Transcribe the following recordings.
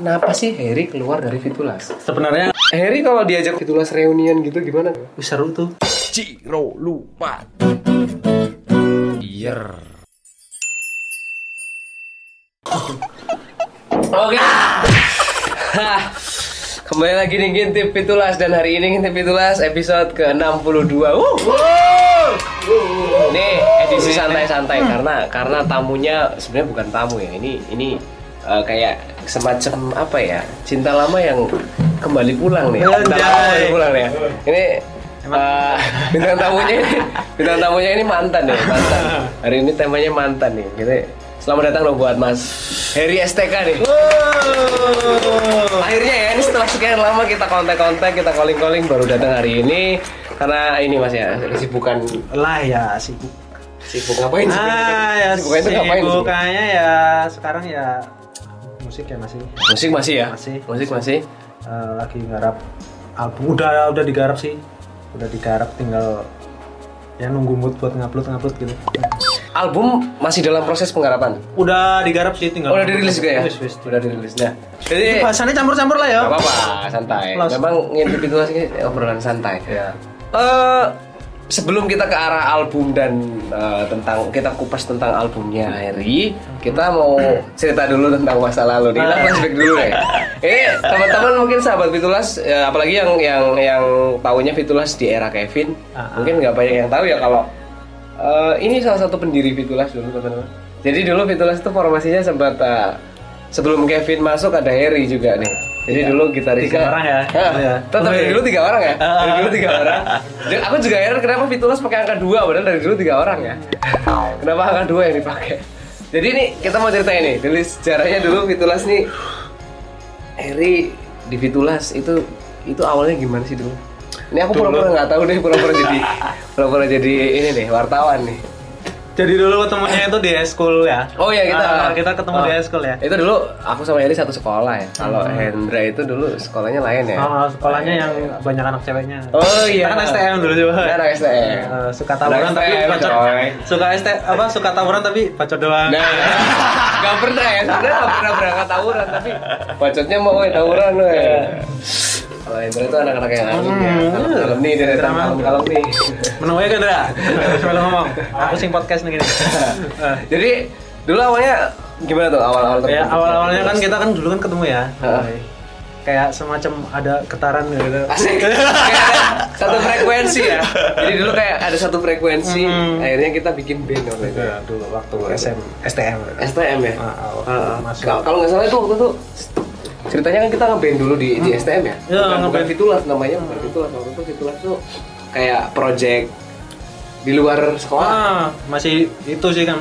Kenapa sih Harry keluar dari Fitulas? Sebenarnya Harry kalau diajak Fitulas reunion gitu gimana? wih, seru tuh. Ciro lupa. Iya. Oke. Hah. Kembali lagi di Ngintip Fitulas dan hari ini Ngintip Fitulas episode ke-62. Wuh. Nih, edisi santai-santai karena karena tamunya sebenarnya bukan tamu ya. Ini ini eh, kayak semacam apa ya? Cinta lama yang kembali pulang nih. Cinta lama Anjay. kembali pulang ya. Ini eh, bintang tamunya ini, bintang tamunya ini mantan nih, mantan. Hari ini temanya mantan nih. Jadi selamat datang dong buat Mas Heri STK nih. Akhirnya ya, ini setelah sekian lama kita kontak-kontak, kita calling-calling baru datang hari ini karena ini mas ya kesibukan Lah ya sibuk. sibuk ngapain sih? Ah ya Kesibukan itu ngapain sih? sibukannya ya sekarang ya musik ya masih Musik masih ya? Masih. Musik masih. Eh, lagi garap album udah udah digarap sih udah digarap tinggal ya nunggu mood buat ngupload ngupload gitu Album masih dalam proses penggarapan. udah digarap sih tinggal Udah dirilis juga ya? Wis, wis. Eh, Udah dirilis. Nah, jadi bahasannya campur-campur lah ya Gak apa-apa, santai. Plus. Memang ngintip itu sih obrolan santai. Iya. Eh, sebelum kita ke arah album dan eh, tentang kita kupas tentang albumnya Harry, kita mau cerita dulu tentang masa lalu. Nih. Kita Ah. flashback dulu ya. Eh, teman-teman mungkin sahabat Fitulas, eh, apalagi yang yang yang tahunya Fitulas di era Kevin, Ah, ah. mungkin nggak banyak yang tahu ya kalau eh, ini salah satu pendiri Fitulas dulu teman-teman. Jadi dulu Fitulas itu formasinya sempat eh, sebelum Kevin masuk ada Harry juga nih. Jadi dulu gitarisnya Iya. Tiga orang ya? Hah, Iya. Tetap dari dulu tiga orang ya. Ah. Dari dulu tiga orang. Dan aku juga heran kenapa Fitulas pakai angka dua padahal dari dulu tiga orang ya. Kenapa angka dua yang dipakai? Jadi ini kita mau ceritain nih, dari sejarahnya dulu Fitulas nih. Eri di Fitulas itu itu awalnya gimana sih dulu? Ini aku pura-pura nggak tahu deh, pura-pura jadi pura-pura jadi ini deh wartawan nih. jadi dulu ketemunya itu di eskul ya Oh ya kita Ah, kita ketemu Ah. di eskul ya Hmm. Itu dulu aku sama Eri satu sekolah ya. Kalau Hendra itu dulu sekolahnya lain ya. Oh, sekolahnya yang banyak anak ceweknya. Oh iya. Kita kan STM dulu coba. Kita anak STM. Eh, suka tawuran Anak tapi STM, bacot. coy. Suka STM apa suka tawuran tapi bacot doang. Nah, gak pernah ya, sebenarnya gak pernah berangkat tawuran tapi bacotnya mau ya tawuran loh ya. Kalau Hendra itu anak-anak yang angin ya, kalau nih dari Drama. kalau nih. Menunggu ya Gendra. Sebelum ngomong, aku sing podcast nih gini. Eh, Nah, Jadi dulu awalnya gimana tuh awal-awal? ya terbentuk? awal-awalnya kan kita kan dulu kan ketemu ya. Heeh. Kayak semacam ada getaran gitu. Asik. Kayak ada satu frekuensi ya. Hmm. Jadi dulu kayak ada satu frekuensi, Mm. akhirnya kita bikin band waktu itu. Ya, dulu waktu SM, STM. STM ya. Ah, ah, waktu Ah, ah. masuk. Kalau kalau nggak salah itu waktu itu ceritanya kan kita ngeband dulu di, di STM ya. Iya, bukan, bukan ngeband. Fitulas namanya, bukan Fitulas. Waktu itu Fitulas tuh kayak project di luar sekolah. Ah, masih itu sih kan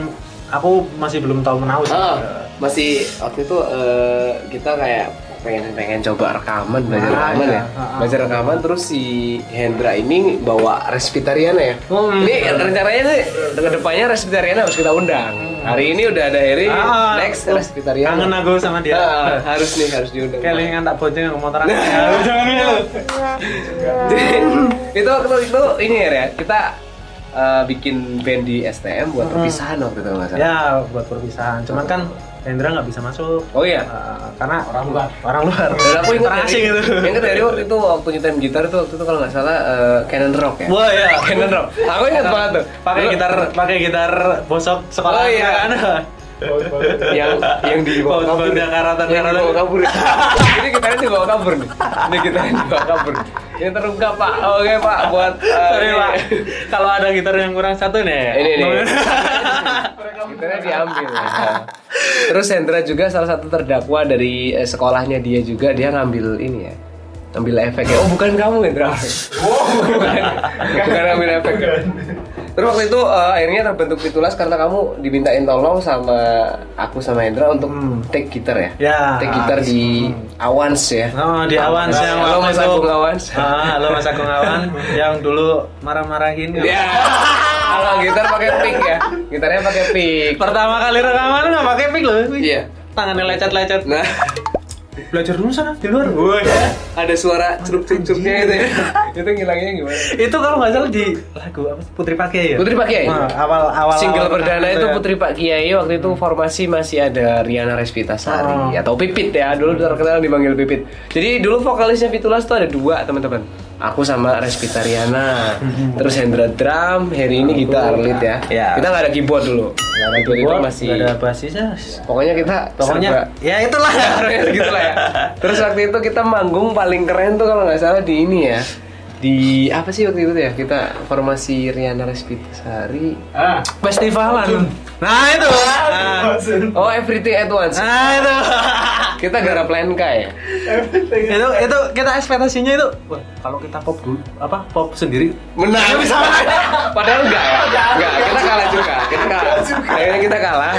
aku masih belum tahu menahu sih. Ah, masih waktu itu eh, kita kayak pengen pengen coba rekaman belajar Ah, rekaman iya. ya Ah, ah. belajar rekaman terus si Hendra ini bawa Respitariana ya Hmm. ini rencananya sih kedepannya Respitariana harus kita undang hari ini udah ada Heri Hmm. Ah, next aku Respitariana Kangen aku sama dia. Ah, harus nih harus diundang Kelingan tak bonceng ke motor Nah. aku. Jangan gitu. Jadi, itu waktu itu ini ya, Ria, kita eh, bikin band di STM buat perpisahan waktu itu nggak salah. Hmm. Ya buat perpisahan. Cuman kan Hendra nggak bisa masuk. Oh iya. Eh, karena orang luar. Orang luar. Dan aku ingat Orang dari, asing gitu. ingat dari waktu itu waktu nyetem gitar itu waktu itu kalau nggak salah eh, Canon Rock ya. Wah ya. Canon Rock. Aku ingat banget tuh. Pakai Dulu- gitar, pakai gitar bosok sekolah. Oh, kan. iya. yang yang dibawa Baut- kabur baut yang karatan- Yang karatan. dibawa kabur ini kita dibawa kabur nih ini kita dibawa kabur ini terungkap pak oke pak buat eh, Sorry ini. pak. Kalau ada gitar yang kurang satu nih. ini nih gitarnya diambil ya. terus Hendra juga salah satu terdakwa dari eh, sekolahnya dia juga dia ngambil ini ya ngambil efek ya oh bukan kamu Hendra bukan, bukan ngambil efek terus waktu itu eh, akhirnya terbentuk fitulas karena kamu dimintain tolong sama aku sama Hendra untuk take gitar ya Ya. Hmm. take gitar di Awans ya Oh, di Awan yang Halo, waktu Mas itu- Agung Awans. Ah, halo Mas Agung Awan yang dulu marah-marahin. kan. ya kalau gitar pakai pick ya gitarnya pakai pick Ah, Pertama kali rekaman nggak pakai mic loh. Iya. Tangannya lecet-lecet. Nah, belajar dulu sana di luar Woi, ada suara cerup cerupnya itu ya. itu ngilangnya gimana? itu kalau nggak salah di lagu apa sih? Putri Pakai ya Putri Pak Kiai. Nah, awal awal Iya. Single awal- perdana itu Putri Pak Kiai waktu itu formasi masih ada Riana Respitasari Ah. atau Pipit ya dulu terkenal dipanggil Pipit. Jadi dulu vokalisnya Fitulas tuh ada dua teman-teman. Aku sama Respita Riana, terus Hendra drum, Heri ini gitar lead ya. Ya. Kita nggak ada keyboard dulu. Nggak ada Keyboard itu keyboard, masih. nggak ada basisnya Pokoknya kita pokoknya serba- ya itulah Orangnya gitu lah ya. Terus waktu itu kita manggung paling keren tuh kalau nggak salah di ini ya. Di apa sih waktu itu tuh ya? Kita formasi Riana Respitasari. Ah, Festivalan. nah itu nah, Oh, everything at once. nah itu Kita garap plan K ya. itu itu kita ekspektasinya itu wah kalau kita pop dulu apa pop sendiri Menang bisa Padahal enggak ya. Enggak, kita kalah juga. Kita kalah. Akhirnya kita kalah.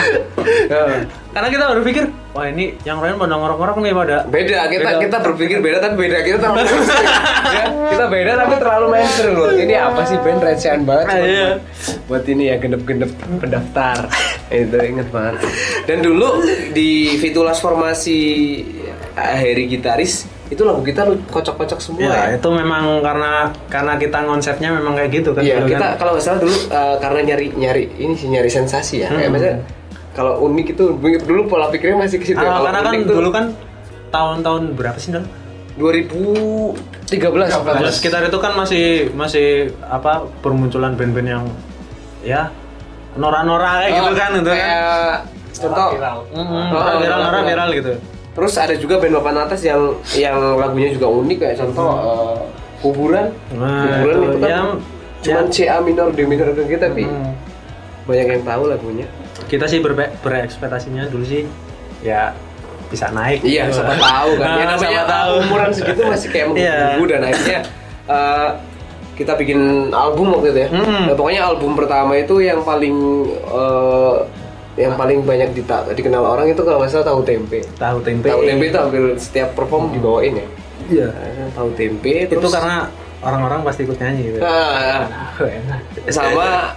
Heeh. karena kita baru pikir wah ini yang lain pada ngorok-ngorok nih pada Beda, kita Beda. kita berpikir beda tapi beda kita terlalu mainstream. ya, kita beda tapi terlalu mainstream loh. Ini apa sih band recehan banget Ah, cuma iya. buat, buat ini ya gendep-gendep pendaftar. Itu inget banget. Dan dulu di Fitulas formasi eh, Heri gitaris itu lagu kita lu kocok-kocok semua ya. ya itu memang karena karena kita konsepnya memang kayak gitu kan Iya, dulu kita kan. kalau nggak salah dulu eh, karena nyari nyari ini sih nyari sensasi ya. Hmm. Kayak misalnya kalau unik itu dulu pola pikirnya masih ke situ. Ah, ya. Kalau karena kan unik tuh dulu kan tahun-tahun berapa sih dong? 2013 14. Terus sekitar itu kan masih masih apa permunculan band-band yang ya norak-norak kayak gitu kan itu Oh, kan. Kayak contoh Mm-mm, iya. Oh, norak viral, norak norak viral. viral gitu. terus ada juga band papan atas yang yang lagunya juga unik kayak contoh eh, kuburan. Hmm. Nah, kuburan itu itu kan yang- ya, cuman C A minor D minor dan kita tapi Hmm. banyak yang tahu lagunya. Kita sih berbe- berekspektasinya dulu sih ya bisa naik. Iya, gitu. siapa tahu kan. Nah, ya, namanya siapa tahu. umuran segitu masih kayak Iya. menggubu dan akhirnya eh, kita bikin album waktu itu ya. Mm. Nah, pokoknya album pertama itu yang paling eh, yang paling banyak dita- dikenal orang itu kalau nggak salah tahu tempe. Tahu tempe. Tahu tempe itu hampir setiap perform dibawain ya. Iya. Nah, Tahu tempe terus Itu karena orang-orang pasti ikut nyanyi gitu. Ah, Enak. sama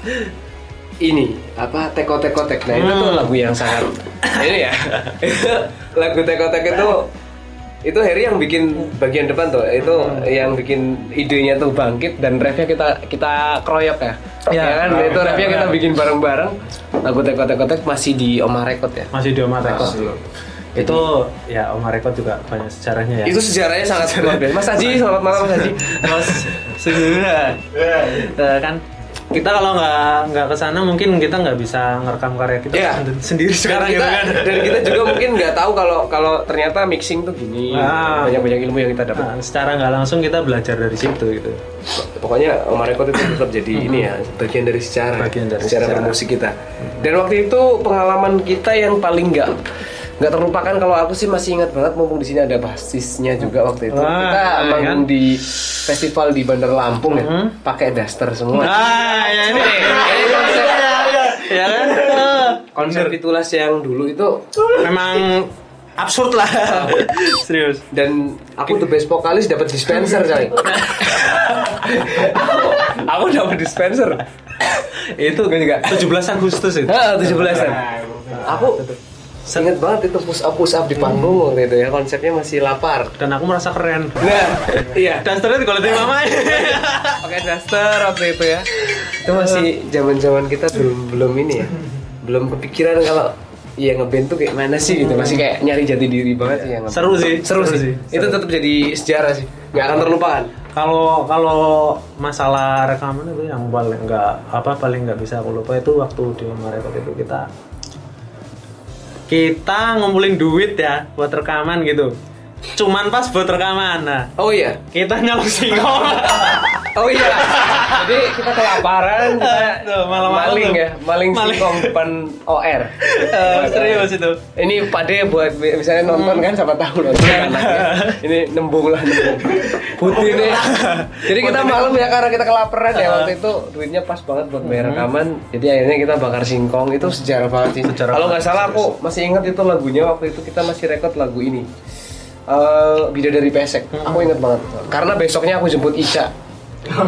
ini apa teko teko tek nah itu tuh lagu yang sangat ini ya lagu teko tek itu itu Harry yang bikin bagian depan tuh itu yang bikin idenya tuh bangkit dan refnya kita kita kroyok ya Ya, ya, kan kroyok. itu refnya kita bikin bareng bareng lagu teko teko tek masih di Oma Record ya Masih di Oma Record. Masih. itu ya Oma Record juga banyak sejarahnya ya. itu sejarahnya sangat luar biasa Mas Haji selamat malam Mas Haji Terus sebenarnya eh, kan kita kalau nggak nggak ke sana mungkin kita nggak bisa ngerekam karya kita Iya. send- sendiri sekarang dan gitu kita, kan. dan kita juga mungkin nggak tahu kalau kalau ternyata mixing tuh gini Ah. banyak banyak ilmu yang kita dapat Nah, secara nggak langsung kita belajar dari situ gitu. pokoknya Omar Record itu tetap jadi ini ya bagian dari sejarah Ah. Bagian dari sejarah sejarah. Hmm. bermusik kita dan waktu itu pengalaman kita yang paling nggak nggak terlupakan kalau aku sih masih ingat banget mumpung di sini ada basisnya juga waktu itu Wah, kita iya manggung kan? Hmm. di festival di Bandar Lampung ya pakai daster semua Ah, ya ini. Ini konsep ya kan? Eh, konsep itulas yang dulu itu Memang absurd lah. Serius. dan aku the best vokalis dapat dispenser coy aku dapat dispenser itu kan juga 17 Agustus itu. Heeh, 17-an. Aku inget banget itu push up push up di panggung waktu itu ya konsepnya masih lapar. Dan aku merasa keren. Nah, iya. Dasternya di kolektif mama. eh, Pakai daster waktu itu ya. Itu masih zaman-zaman kita belum belum ini ya. Belum kepikiran kalau Iya ngeband tuh kayak mana sih gitu masih kayak nyari jati diri banget sih yang ngeband. Seru sih, seru, seru sih. sih. Itu tetap jadi sejarah sih, nggak akan terlupakan. Kalau kalau masalah rekaman itu yang paling nggak apa paling nggak bisa aku lupa itu waktu di rumah record itu kita kita ngumpulin duit ya buat rekaman gitu. Cuman pas buat rekaman, nah Oh iya, kita nyalon singkong. oh iya. Jadi kita kelaparan, kita Tuh, malam-malam maling tuh. ya, maling, Maling. singkong depan OR. Eh, serius itu. Ini Pak De buat misalnya nonton kan siapa tahu nonton Iya. anaknya. Ini nembung lah nembung. Putih nih. Jadi kita malam ya karena kita kelaparan ya waktu itu duitnya pas banget buat bayar rekaman. Jadi akhirnya kita bakar singkong itu sejarah banget sih. Sejarah Kalau nggak salah aku masih ingat itu lagunya waktu itu kita masih rekod lagu ini. Eh Bidadari Pesek. Aku ingat banget. Karena besoknya Iya. aku jemput Ica.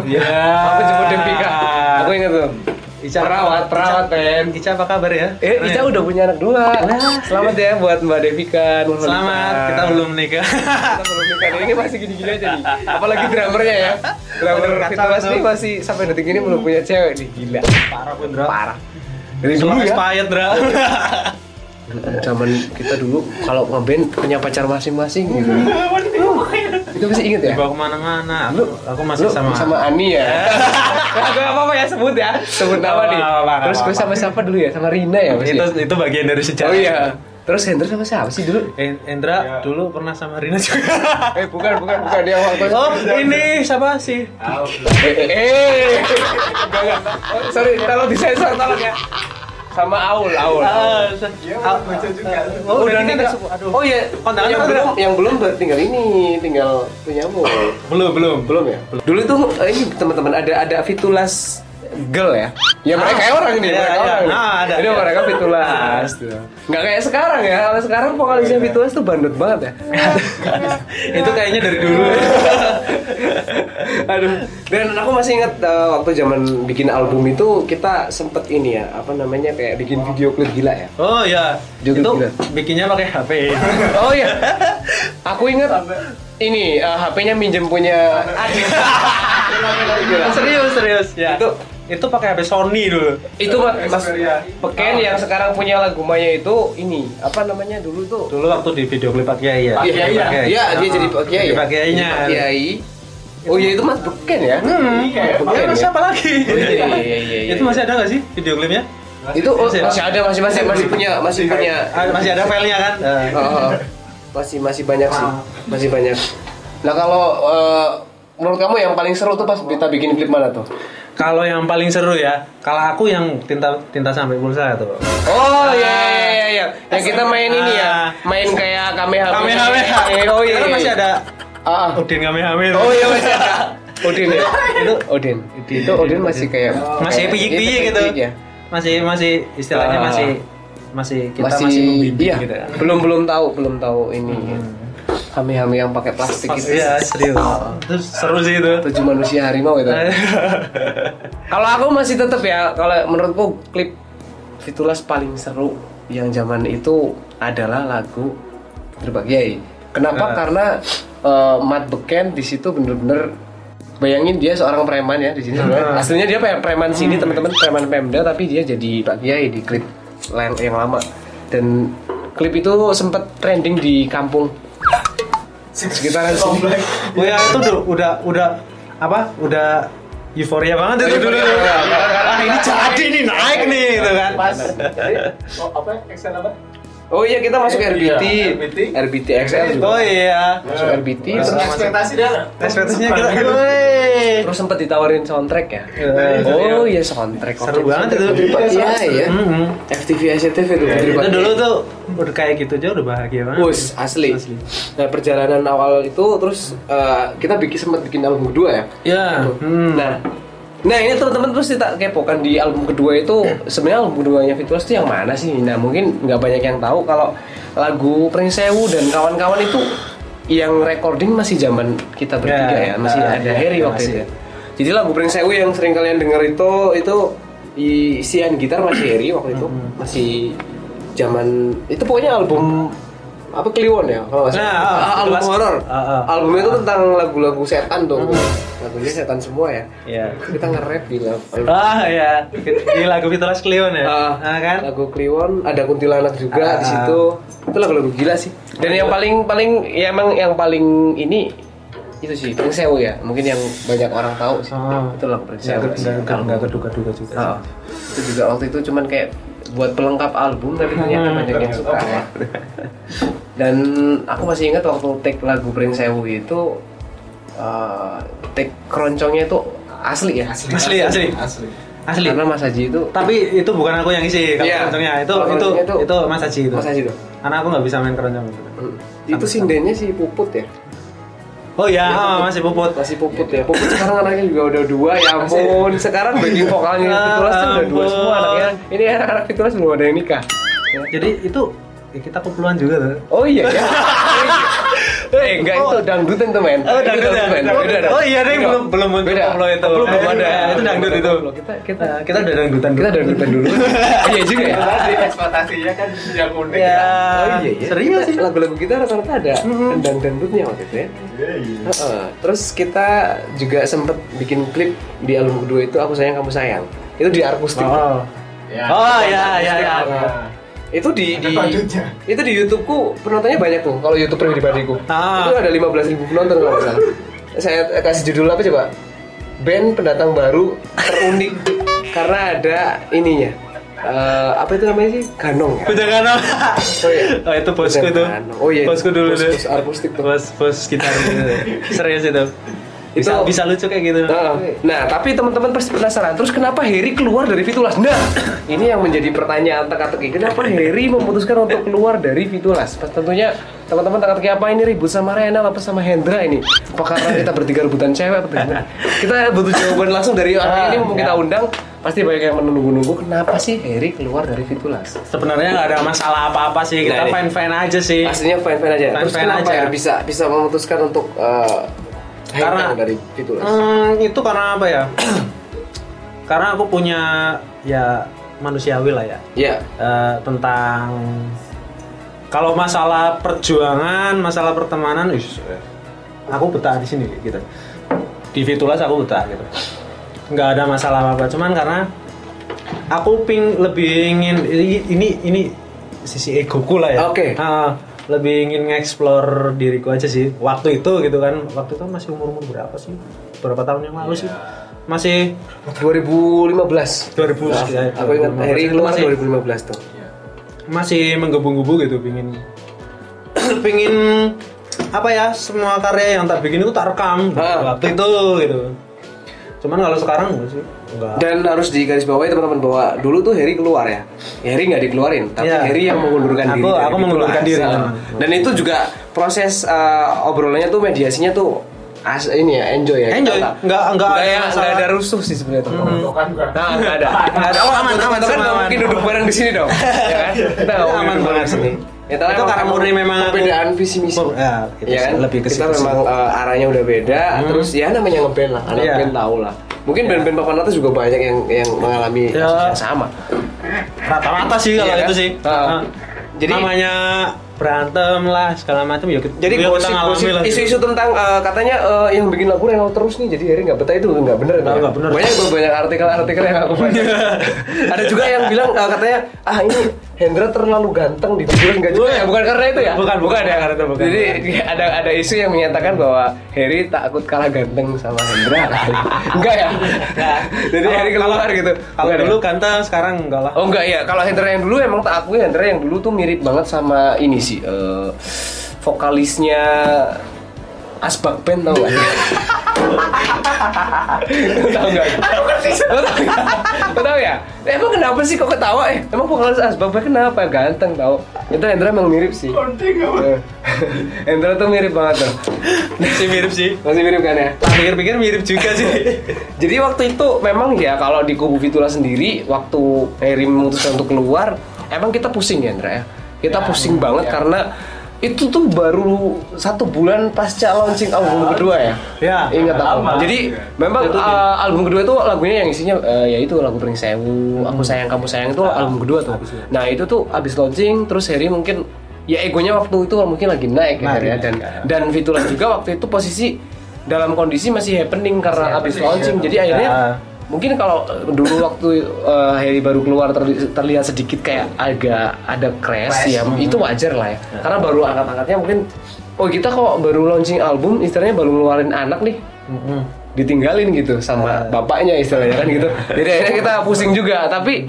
Ya. Aku jemput Dempika. Aku ingat tuh. Ah. Ica Perawat, perawat, Pen. Ica apa kabar ya? Eh, Ica udah punya anak dua. Selamat ya buat Mbak Devika. Nurhaliza. Selamat, kita belum nikah. Kita belum nikah. Nah, Ini masih gini-gini aja nih. Apalagi drummernya ya. Drummer Aduh, kacau kita pasti tuh. masih sampai detik ini belum punya cewek nih. Gila. Parah pun, Dra. Parah. Dari Semua dulu ya. expired, Dra. Zaman kita dulu kalau ngeband punya pacar masing-masing gitu. Itu masih inget ya? Dibawa kemana-mana. Aku, aku Lu masih sama. Ani ya. gue apa apa ya sebut ya, sebut Nggak nama nih. apa-apa, nggak Terus gue apa-apa. sama siapa dulu ya? Sama Rina ya pasti. itu, itu bagian dari sejarah. Oh iya. Terus Hendra sama siapa sih dulu? En- Eh, Endra dulu pernah sama Rina juga. Eh bukan bukan bukan dia waktu oh, Iya, ini siapa sih? Eh, eh, eh. Enggak, enggak. Oh, sorry, tolong disensor tolong ya. Sama Aul, Aul. Ah, ah, Oh, udah nih nikah. Aduh. Oh iya, kondangan yang apa, belum Dra? yang belum ber- tinggal ini, tinggal punyamu. Belum, belum. belum ya? Dulu itu eh, ini teman-teman ada ada Fitulas girl ya. Ya mereka Ah, orang nih, iya, mereka iya. orang. Ah, ada, Jadi iya. mereka Fitulas. gitu. Nggak kayak sekarang ya. Kalau sekarang vokalisnya Fitulas tuh bandut banget ya. Iya. itu kayaknya dari dulu. Aduh. Dan aku masih ingat eh, waktu zaman bikin album itu kita sempet ini ya, apa namanya kayak bikin video klip gila ya. Oh ya, Joget itu gila. bikinnya pakai HP. Oh iya. Aku ingat ini eh, HP-nya minjem punya Ah, serius, serius ya. Itu Itu- itu pakai HP Sony dulu. itu Mas, mas Peken yang sekarang punya lagu Maya itu ini apa namanya dulu tuh Dulu waktu di video klip Pak Kiai ya. Pak Kiai ya. Iya, dia Ah, jadi Pak Kiai. jadi ya? Pak Kiainya. Jadi Pak Kiai. Oh iya itu Mas Beken ya? Hmm, Iya, Pak Kiai Beken masih ya? apa lagi? Oh, iya, iya, iya, iya, iya. Itu masih ada nggak sih video klipnya? Itu oh, Masih- masih ada masih masih masih punya masih punya Ah, Masih ada filenya kan? Eh, Iya. Oh, oh. masih masih banyak sih. Ah. Masih banyak. Nah, kalau eh, menurut kamu yang paling seru tuh pas kita bikin klip mana tuh? Kalau yang paling seru ya, kalau aku yang tinta tinta sampai pulsa tuh. Oh iya iya iya iya. Yang kita main ini ya, Ah. main kayak kamehameha. Kamehameha. Eh, Oh iya. Karena iya. masih ada Ah, ah. Udin Kamehameha. Oh iya masih ada. Udin ya. Itu Iya, Odin. Itu Odin masih kayak masih kayak- piyik-piyik iya, gitu. piyik-piyik ya. Masih masih istilahnya Ah. masih masih kita masih, membimbing iya, gitu. ya. Hmm. belum belum tahu belum tahu ini hami-hami yang pakai plastik itu Iya, serius. Oh. Itu seru sih itu. tujuh manusia harimau itu Nah, kalau aku masih tetap ya kalau menurutku klip Fitulas paling seru yang zaman itu adalah lagu Terbagiai kenapa karena eh, Matt Beken di situ bener-bener bayangin dia seorang preman ya di sini sebenarnya. aslinya dia pre- preman sini teman-teman preman Pemda tapi dia jadi Pak Kiai di klip lain- yang lama dan klip itu sempat trending di kampung sekitaran sini Oh ya itu udah udah udah apa? Udah euforia banget itu dulu. Euforia banget. Ah, ini jadi nih naik nih gitu kan. Oh, apa ya? Excel apa? Oh iya kita masuk RBT, RBT. RBT XL juga. Oh iya. Iya. Masuk RBT terus, Masuk ekspektasi dah. Ekspektasinya kita. Woi. terus sempat ditawarin soundtrack ya. Eh, Oh iya soundtrack. Waktu Seru banget soundtrack itu. Putri Pak- Iya iya. Mm-mm. FTV SCTV itu Putri iya. Itu Pak- dulu tuh udah kayak gitu aja udah bahagia banget. Wus, asli. Asli. Nah perjalanan awal itu terus eh, kita bikin sempat bikin album kedua ya. Ya. Hmm. Nah, nah ini teman-teman terus kita kepo kan di album kedua itu sebenarnya album keduanya Fitulas itu yang mana sih? Nah mungkin nggak banyak yang tahu kalau lagu Prinsewu dan kawan-kawan itu yang recording masih zaman kita bertiga ya, Ya, masih nah, ada ya, Harry waktu masih. itu. ya. Jadi lagu Prinsewu yang sering kalian denger itu itu isian gitar masih Harry waktu itu Hmm. masih zaman itu pokoknya album apa Kliwon ya kalau nggak salah Nah, ah, Ah, album Fitulas. horor Ah, ah. albumnya itu tentang lagu-lagu setan tuh lagunya setan semua ya Hmm. Iya. kita nge-rap di lab Ah ya, ini lagu Fitulas Cleon ya, ah, kan? lagu Kliwon ada kuntilanak juga Ah. di situ itu lagu-lagu gila sih dan yang paling paling ya emang yang paling ini itu sih Pring Sewu ya mungkin yang banyak orang tahu sih Ah. itu lagu Pring Nggak Sewu ke- sih. nggak- nggak- nggak keduga-duga juga. sih. Ah. itu juga waktu itu cuman kayak buat pelengkap album tapi ternyata Hmm. banyak yang suka ya. dan aku masih ingat waktu take lagu Pring Sewu itu eh, take keroncongnya itu asli ya asli, Asli, asli, Asli. asli. karena Mas Haji itu Tapi itu bukan aku yang isi kalau Iya. keroncongnya. Itu Kalau itu keroncongnya itu, itu- Mas Haji itu. Mas Haji itu. Karena aku nggak bisa main keroncong. itu sindennya si Puput ya Oh Iya, ya, ah, masih puput. Iya, masih Puput ya Puput sekarang anaknya juga udah dua ya ampun sekarang backing vokalnya Ya Fitulas tuh udah dua ampun. Ya, semua anaknya ini anak-anak Fitulas belum ada yang nikah Jadi itu ya, kita kepuluhan juga tuh. oh iya ya eh Eh, enggak itu dangdut itu men. Oh, Itu dangdut ya? men. Beda, Oh, iya, Neng, Beda. belum- belum untuk Beda. koplo itu. Belum belum Eh, ada. iya, itu dangdut itu. Kita kita kita udah dangdutan dulu. kita dangdutan dulu. Iya juga ya. Tadi ekspektasinya kan yang unik. Ya, Oh iya, iya. serius Kita- sih. Lagu-lagu kita rata-rata ada tendang dangdutnya waktu itu ya. Heeh. Terus kita juga sempet bikin klip di album kedua itu Aku Sayang Kamu Sayang. Itu di akustik. Oh, iya, Ya. Oh ya ya ya. Nah, itu di di badutnya. itu di YouTubeku penontonnya banyak tuh kalau YouTube pribadiku Ah. itu ada 15.000 penonton kalau nggak salah saya eh, kasih judul apa coba band pendatang baru terunik karena ada ininya Eh, apa itu namanya sih ganong ya Jangan oh, iya. Oh itu bosku Bujang tuh. Ganong. oh iya Bosku dulu bos, deh. bos akustik tuh Bos bos gitar gitu. Serius itu. Bisa Itu- bisa lucu kayak gitu. Nah, nah, tapi teman-teman pasti penasaran terus kenapa Harry keluar dari Fitulas? Nah, ini yang menjadi pertanyaan teka-teki. Kenapa Harry memutuskan untuk keluar dari Fitulas? Pas tentunya teman-teman teka-teki apa ini ribut sama Renal apa sama Hendra ini? Apa karena kita bertiga rebutan cewek apa gimana? Kita butuh jawaban langsung dari orang ini mau kita undang. Pasti banyak yang menunggu-nunggu kenapa sih Harry keluar dari Fitulas? Sebenarnya nggak ada masalah apa-apa sih. Nah, Kita ini. fan-fan aja sih. Pastinya fine-fine aja. terus Fine-fine kenapa aja. ya bisa bisa memutuskan untuk eh, Karena- hengkang dari Fitulas? Hmm, itu karena apa ya? karena aku punya ya manusiawi lah ya Ya, Eh, tentang kalau masalah perjuangan, masalah pertemanan, wih, eh, aku betah di sini gitu. Di Fitulas aku betah gitu. Nggak ada masalah apa-apa, cuman karena aku ping lebih ingin ini ini, ini sisi egoku lah ya. Oke. Ah, lebih ingin nge-explore diriku aja sih. Waktu itu gitu kan, waktu itu masih umur-umur berapa sih? Berapa tahun yang lalu sih? Masih 2015. 2000 ya, Nah, Aku ingat 2015. Harry Itu keluar masih- 2015 tuh. masih menggebu-gebu gitu pingin pingin apa ya semua karya yang tak bikin itu tak rekam gitu, Ah. waktu itu gitu cuman kalau sekarang enggak sih enggak Dan harus digarisbawahi teman-teman bahwa dulu tuh Harry keluar ya. Harry nggak dikeluarin, tapi Iya. Harry yang mengundurkan diri. Aku- dari aku Big mengundurkan Brother. diri. Nah, Dan itu juga proses eh, obrolannya tuh mediasinya tuh as ini ya enjoy ya. Enjoy. Nggak Nggak- nggak ada ada masalah. Hmm. ada rusuh sih sebenarnya teman-teman. Tuh kan gua. Nah, nggak ada. Nggak ada. Oh, aman, aman, Kan nggak semua aman. mungkin duduk bareng di sini dong. ya kan? Kita nggak mungkin Aman duduk bareng banget. di sini. Ya, Itu karena murni memang aku- perbedaan visi misi. Mur- ya, gitu ya sih, kan? lebih ke kita situ sih. memang Hmm. eh, arahnya udah beda terus ya namanya ngeband lah anak Iya. band tahu lah mungkin band-band papan atas juga banyak yang yang mengalami Iya. kasus yang sama rata-rata sih kalau Iya kan? itu sih Ah. Ah. Jadi- namanya berantem lah segala macam ya jadi ya gosip, ngalamin gosip lah, gitu. isu-isu tentang eh, katanya eh, yang bikin lagu yang terus nih jadi akhirnya nggak betah itu nggak bener itu Nggak, ya? nggak bener. Iya. banyak banyak artikel-artikel yang aku baca ada juga yang bilang eh, katanya ah ini Hendra terlalu ganteng di Big Brother." nggak juga ya bukan karena itu ya Bukan, bukan ya, karena itu bukan. jadi ada ada isu yang menyatakan bahwa Harry takut kalah ganteng sama Hendra kali enggak ya jadi Nah, Kalau- Harry keluar gitu kalau Bukan ya? dulu ganteng sekarang enggak lah Oh enggak ya, kalau Hendra yang dulu emang tak akui Hendra yang dulu tuh mirip banget sama ini sih eh, vokalisnya Asbak Band tau gak? tau gak? Lo tau gak? Lo tau ya? Emang kenapa sih kok ketawa eh? Emang vokalis Asbak Band kenapa? Ganteng tau Itu Hendra emang mirip sih Eh, Hendra tuh mirip banget tuh Masih mirip sih. Masih mirip kan ya? Tak pikir-pikir mirip juga sih. Jadi waktu itu memang ya kalau di kubu Fitula sendiri waktu Harry memutuskan untuk keluar, emang kita pusing ya Indra ya. Kita pusing banget karena itu tuh baru satu bulan pasca launching album kedua ya. Ya, Ingat aku. lama. Jadi Ya. memang uh, album kedua itu lagunya yang isinya uh, ya itu lagu Pring Sewu, Aku Sayang Kamu Sayang itu album kedua tuh. Nah, Hmm. itu tuh abis launching terus Harry mungkin ya egonya waktu itu mungkin lagi naik ya, Naik, Harry ya dan ya. dan Fitula juga waktu itu posisi dalam kondisi masih happening karena habis launching jadi akhirnya Ya. mungkin kalau eh, dulu waktu eh, Harry baru keluar terli- terlihat sedikit kayak agak ada crash, ya itu wajar lah ya karena baru angkat-angkatnya mungkin oh kita kok baru launching album istilahnya baru ngeluarin anak nih Mm-mm. ditinggalin gitu sama Iya. bapaknya istilahnya kan gitu jadi akhirnya kita pusing juga tapi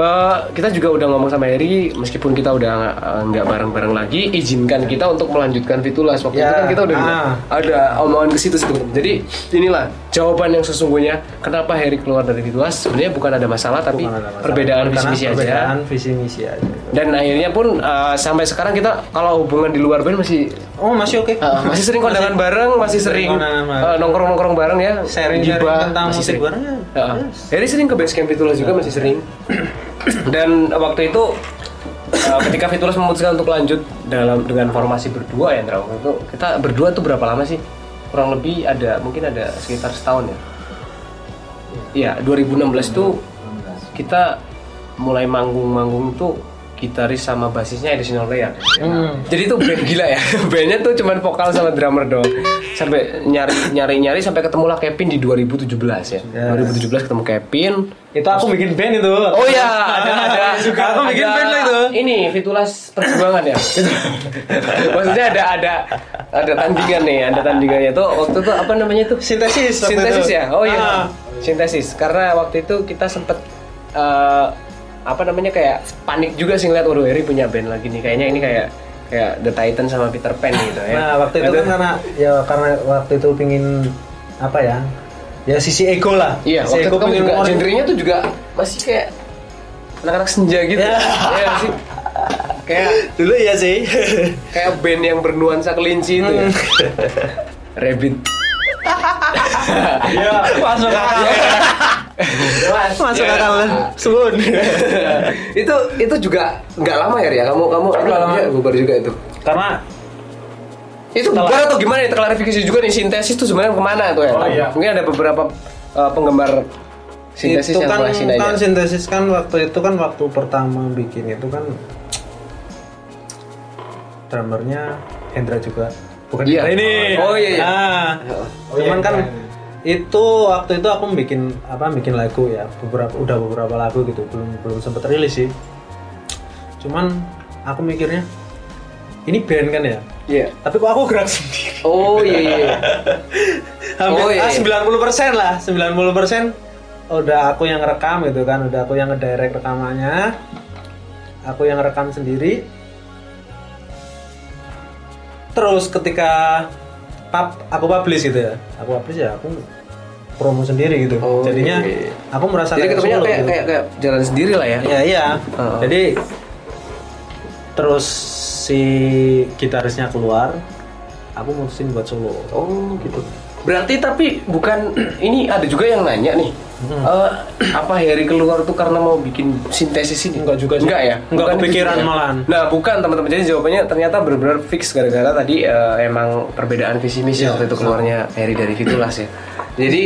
eh, kita juga udah ngomong sama Eri meskipun kita udah eh, nggak bareng-bareng lagi izinkan kita untuk melanjutkan Fitulas waktu itu Ya, kan kita udah ah. ada omongan ke situ sih teman-teman. jadi inilah jawaban yang sesungguhnya kenapa Heri keluar dari Fitulas sebenarnya bukan ada masalah tapi Bukan ada masalah. perbedaan Karena visi misi aja perbedaan visi misi aja dan akhirnya pun eh, sampai sekarang kita kalau hubungan di luar band masih oh masih oke Uh, masih sering kondangan bareng, masih sering kondangan bareng. uh, nongkrong-nongkrong bareng ya. Sharing-sharing gibah, tentang masih musik sering. Ah, bareng ya. Uh, Harry sering ke base camp Fitulas juga masih sering. Dan waktu itu eh, ketika Fitulas memutuskan untuk lanjut dalam dengan formasi berdua ya Indra waktu itu kita berdua tuh berapa lama sih kurang lebih ada mungkin ada sekitar setahun ya Iya 2016 tuh kita mulai manggung-manggung tuh gitaris sama basisnya additional layer Hmm. jadi itu band gila ya bandnya tuh cuman vokal sama drummer doang sampai nyari nyari nyari sampai ketemulah Kevin di 2017 ya 2017 ketemu Kevin Itu aku bikin band itu. Oh iya, ada ada. Suka aku bikin ada- band lah itu. Ini Fitulas perjuangan ya. Maksudnya ada ada ada tandingan nih, ada tandingannya tuh waktu itu apa namanya tuh? Sintesis. waktu Sintesis itu. ya. Oh iya. Ah. Sintesis karena waktu itu kita sempet eh, apa namanya kayak panik juga sih ngeliat Uru Heri punya band lagi nih. Kayaknya ini kayak kayak The Titan sama Peter Pan gitu ya. Nah waktu itu kan karena ya karena waktu itu pingin apa ya? Ya sisi ego lah. Iya, waktu Sisi itu ego kamu pingin juga ngeluarin- genrenya tuh juga masih kayak anak-anak senja gitu. Ya. Iya nggak sih. Kayak Dulu iya sih. kayak band yang bernuansa kelinci itu ya. Hmm. Rabbit. Iya. Masuk akal. Ya. Masuk Iya. akal. Sun. itu itu juga nggak lama ya ya kamu kamu Nggak lama. Iya, bubar juga itu Karena itu Setelah- bubar atau gimana ya klarifikasi juga nih sintesis itu sebenarnya kemana tuh ya Oh, iya. mungkin ada beberapa uh, penggemar sintesis itu yang ya? kan, ngelasin aja kan sintesis kan waktu itu kan waktu pertama bikin itu kan drummernya Hendra juga bukan Iya. Hendra ini Oh, iya, iya. Ah, Oh, iya, cuman kan iya. itu waktu itu aku bikin apa bikin lagu ya beberapa udah beberapa lagu gitu belum belum sempet rilis sih cuman aku mikirnya ini band kan ya iya tapi kok aku gerak sendiri oh iya iya hampir Oh, iya, ah, iya. 90% lah 90% udah aku yang rekam gitu kan udah aku yang ngedirect rekamannya aku yang rekam sendiri terus ketika pub, aku publish gitu ya aku publish ya aku promo sendiri gitu Oh, jadinya iya. aku merasa jadi ketemunya solo kayak gitu. kayak kayak jalan sendiri lah ya Iya iya. Heeh. Jadi terus si gitarisnya keluar, aku mutusin buat solo. Oh gitu. Berarti tapi bukan ini ada juga yang nanya nih. Hmm. Eh, apa Harry keluar tuh karena mau bikin sintesis ini? Enggak juga sih. Enggak ya? Enggak Bukan kepikiran gitu ya? malahan. Nah, bukan teman-teman. Jadi jawabannya ternyata benar-benar fix gara-gara tadi eh, emang perbedaan visi misi waktu itu keluarnya Harry dari Fitulas ya. Jadi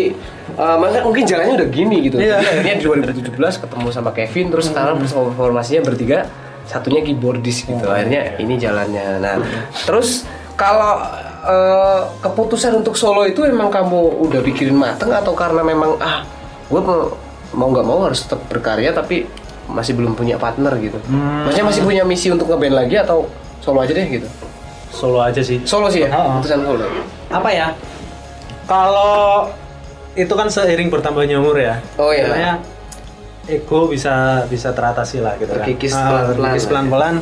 eh, makanya mungkin jalannya udah gini gitu. Jadi Iya. akhirnya di 2017 ketemu sama Kevin terus sekarang bersama formasinya bertiga satunya keyboardis gitu. Akhirnya ini jalannya. Nah, terus kalau eh, keputusan untuk solo itu emang kamu udah pikirin mateng atau karena memang ah gue mau nggak mau harus tetap berkarya tapi masih belum punya partner gitu. Hmm. Maksudnya masih punya misi untuk ngeband lagi atau solo aja deh gitu. Solo aja sih. Solo sih ya, Oh. keputusan solo. Apa ya? Kalau itu kan seiring bertambahnya umur ya. Oh, iya. Makanya ego bisa bisa teratasi lah gitu kan. Terkikis pelan-pelan Ah, terkikis lah. ya. pelan-pelan.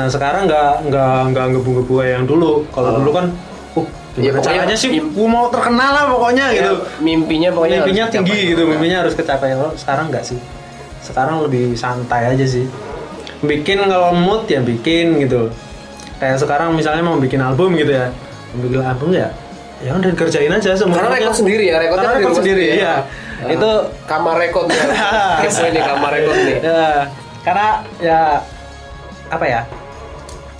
Nah, sekarang nggak nggak nggak ngebu-ngebu kayak yang dulu. Kalau dulu kan uh Oh. Ya, gimana pokoknya caranya sih im- Gua mau terkenal lah pokoknya gitu. Ya, mimpinya pokoknya mimpinya harus tinggi dicapai. gitu mimpinya harus kecapai kalau sekarang nggak sih sekarang lebih santai aja sih bikin kalau mood ya bikin gitu kayak sekarang misalnya mau bikin album gitu ya mau bikin album ya ya udah kerjain aja semua Karena rekod sendiri ya, rekodnya Karena di rekod rumah sendiri, iya. Ah. Itu- kamar rekod ya. Kepo ini kamar rekod nih. ya karena ya apa ya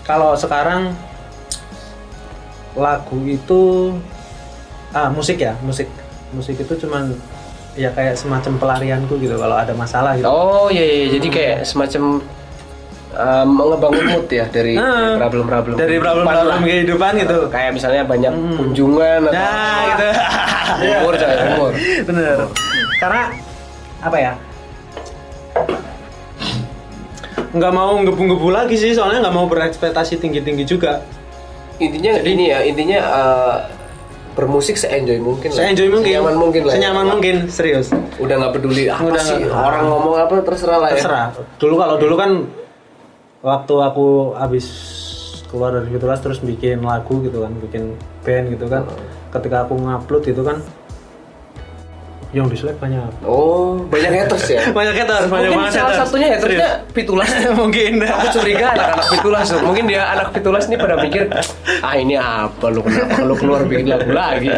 kalau sekarang lagu itu ah musik ya musik musik itu cuman ya kayak semacam pelarianku gitu kalau ada masalah gitu Oh iya, iya. jadi kayak semacam eh, mengebangun mood ya dari Ah. problem-problem. dari problem-problem Kehidupan kehidupan gitu lah. Kayak misalnya banyak kunjungan atau nah gitu Iya. umur, coy, umur. bener karena apa ya nggak mau ngebu-ngebu lagi sih soalnya nggak mau berekspektasi tinggi-tinggi juga Intinya ini ya, intinya eh, bermusik se-enjoy mungkin lah. Seenjoy mungkin. Senyaman mungkin lah. ya. Senyaman mungkin, serius. Udah nggak peduli apa Udah sih nggak- Ah. orang ngomong apa terserah lah ya. Terserah. Dulu kalau dulu kan waktu aku habis keluar dari Fitulas terus bikin lagu gitu kan, bikin band gitu kan. Ah. Ketika aku ngupload gitu kan yang dislike banyak. Oh, banyak haters ya. Banyak haters, banyak mungkin banget salah haters. satunya hatersnya Pitulas. Mungkin. Aku curiga anak-anak Pitulas tuh. Mungkin dia anak Pitulas nih pada mikir, ah ini apa lu kenapa lu keluar bikin lagu lagi?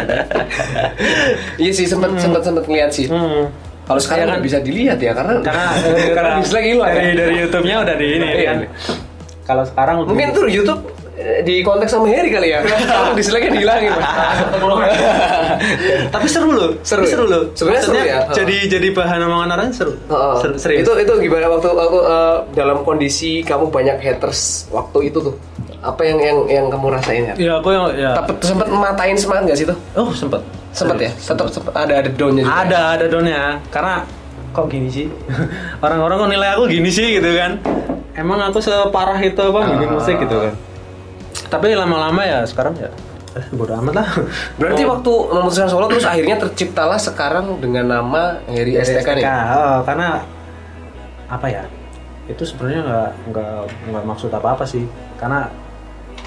iya sih sempat sempat sempat ngeliat sih. Hmm. Kalau sekarang nggak bisa dilihat ya karena karena karena dislike hilang. dari ya. dari YouTube-nya udah di ini Iya. kan. Kalau sekarang lebih- Mungkin tuh YouTube eh, di kontak sama Heri kali ya. Kalau dislike-nya dihilangin. Pak. tapi seru loh, Seru tapi ya? seru loh. Sebenarnya seru Maksudnya ya, heeh. Jadi jadi bahan omongan orang seru. Heeh. Seru- serius. Itu itu gimana waktu aku eh, dalam kondisi kamu banyak haters waktu itu tuh. Apa yang yang yang kamu rasain ya? ya aku yang ya. Tapi sempat matain semangat nggak sih tuh? Oh sempet. Sempet ya? Serius. Tetap sempet ada ada down-nya juga. ya? Ada ada donnya karena kok gini sih orang-orang kok nilai aku gini sih gitu kan emang aku separah itu apa bikin musik gitu Ah. kan tapi lama-lama ya sekarang ya eh, bodo amat lah Oh. Berarti waktu memutuskan solo terus akhirnya terciptalah sekarang dengan nama Heri STK nih. oh, karena apa ya itu sebenarnya nggak nggak nggak maksud apa apa sih karena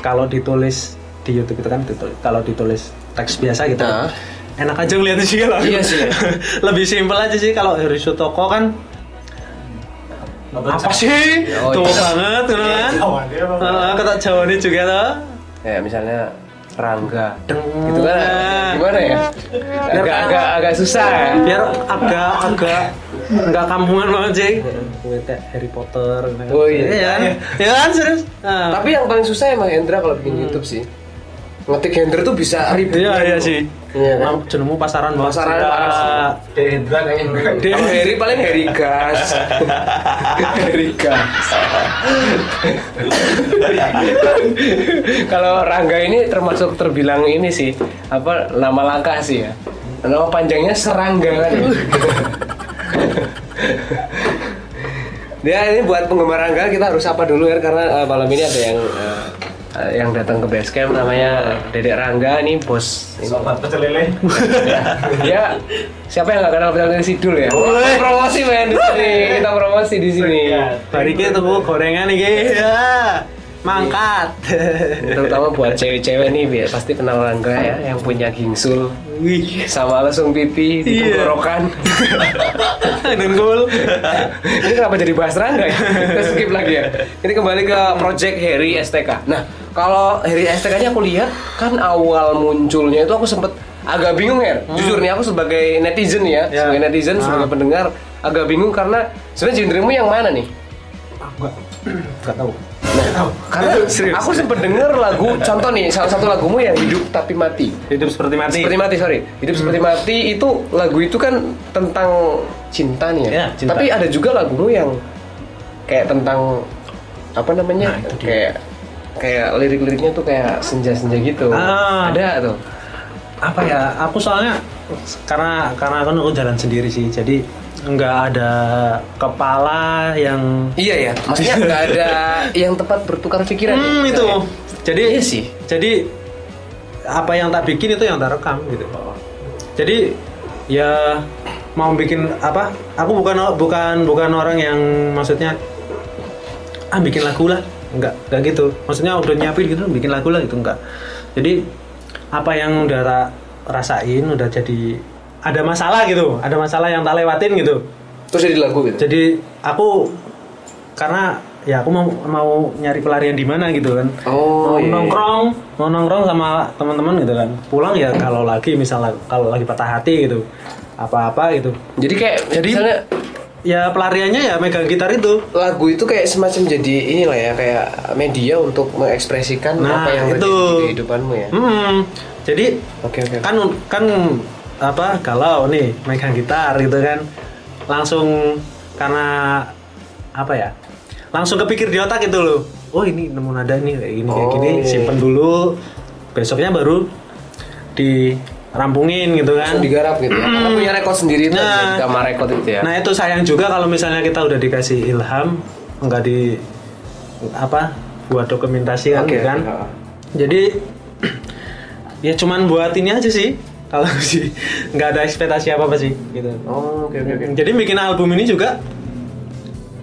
kalau ditulis di YouTube itu kan ditulis, kalau ditulis teks biasa gitu Ah. enak aja ngeliatnya sih kalau Iya sih. lebih simpel aja sih kalau Heri Sutoko kan apa sih Oh, tua iya. banget gitu kan Oh, dia apa? Heeh, kata Jawa ini juga tuh Kayak Ya, misalnya Rangga. Deng. Gitu kan Nah. gimana ya? Agak agak agak susah ya. biar agak agak nggak kampungan banget sih gue teh Harry Potter gitu. Oh, iya. kan ya kan serius Nah, Tapi yang paling susah emang Hendra kalau bikin YouTube sih. Ngetik Hendra tuh bisa ribet. Hmm. iya iya sih Iya kan? Emang jenengmu pasaran banget sih. Pasaran parah sih. Ah, Hendra kayaknya Kalau Hmm. Heri paling Heri Gas. Heri Gas. Kalau Rangga ini termasuk terbilang ini sih apa nama langkah sih ya. Nama panjangnya Serangga kan. ya. Dia Ya, ini buat penggemar Rangga kita harus apa dulu ya karena eh, malam ini ada yang eh, eh, yang datang ke basecamp namanya Dedek Rangga ini bos ini Sobat pecel lele. ya siapa yang nggak kenal pedang dari Sidul ya promosi men di sini kita promosi di sini Bari ki tuku gorengan iki. Ya. Mangkat. terutama buat cewek-cewek nih biar pasti kenal Rangga ya yang punya gingsul Wih. sama lesung pipi di Iya. tenggorokan Dengkul. ini kenapa jadi bahas Rangga ya kita skip lagi ya ini kembali ke project Harry STK nah kalau Harry STK nya aku lihat kan awal munculnya itu aku sempet agak bingung ya jujur nih aku sebagai netizen ya Ya. sebagai netizen sebagai pendengar agak bingung karena sebenarnya genremu yang mana nih Enggak tahu. Nah, karena aku sempat denger lagu contoh nih salah satu lagumu yang hidup tapi mati Hidup seperti mati. Hmm. seperti mati sorry hidup seperti mati itu lagu itu kan tentang cinta nih ya, Iya, cinta. tapi ada juga lagumu yang kayak tentang apa namanya Nah, itu dia. kayak kayak lirik-liriknya tuh kayak senja-senja gitu Ah. ada tuh apa ya aku soalnya karena karena kan aku jalan sendiri sih jadi nggak ada kepala yang iya ya maksudnya nggak ada yang tepat bertukar pikiran ya, Hmm, itu misalnya. jadi Iya sih. jadi apa yang tak bikin itu yang tak rekam gitu Oh. jadi ya mau bikin apa aku bukan bukan bukan orang yang maksudnya ah bikin lagu lah enggak enggak gitu maksudnya udah nyiapin gitu bikin lagu lah gitu enggak jadi apa yang udah ra- rasain udah jadi ada masalah gitu ada masalah yang tak lewatin gitu terus jadi lagu gitu jadi aku karena ya aku mau mau nyari pelarian di mana gitu kan Oh, mau iya. nongkrong mau nongkrong sama teman-teman gitu kan pulang ya kalau lagi misalnya kalau lagi patah hati gitu apa-apa gitu jadi kayak Jadi- misalnya ya pelariannya ya megang gitar itu lagu itu kayak semacam jadi inilah ya kayak media untuk mengekspresikan Nah, apa yang itu. terjadi di kehidupanmu ya. Hmm, jadi Oke oke. kan kan apa galau nih megang gitar gitu kan langsung karena apa ya langsung kepikir di otak gitu loh oh ini nemu nada nih kayak gini kayak gini Oh. simpen dulu besoknya baru dirampungin gitu kan Langsung digarap gitu. Ya. Karena punya rekod sendiri itu Nah. di kamar rekod itu ya. Nah itu sayang juga kalau misalnya kita udah dikasih ilham nggak di apa buat dokumentasi kan, Oke, kan? oke, ha. Jadi ya cuman buat ini aja sih kalau sih nggak ada ekspektasi apa apa sih gitu. Oh, oke oke oke. Jadi bikin album ini juga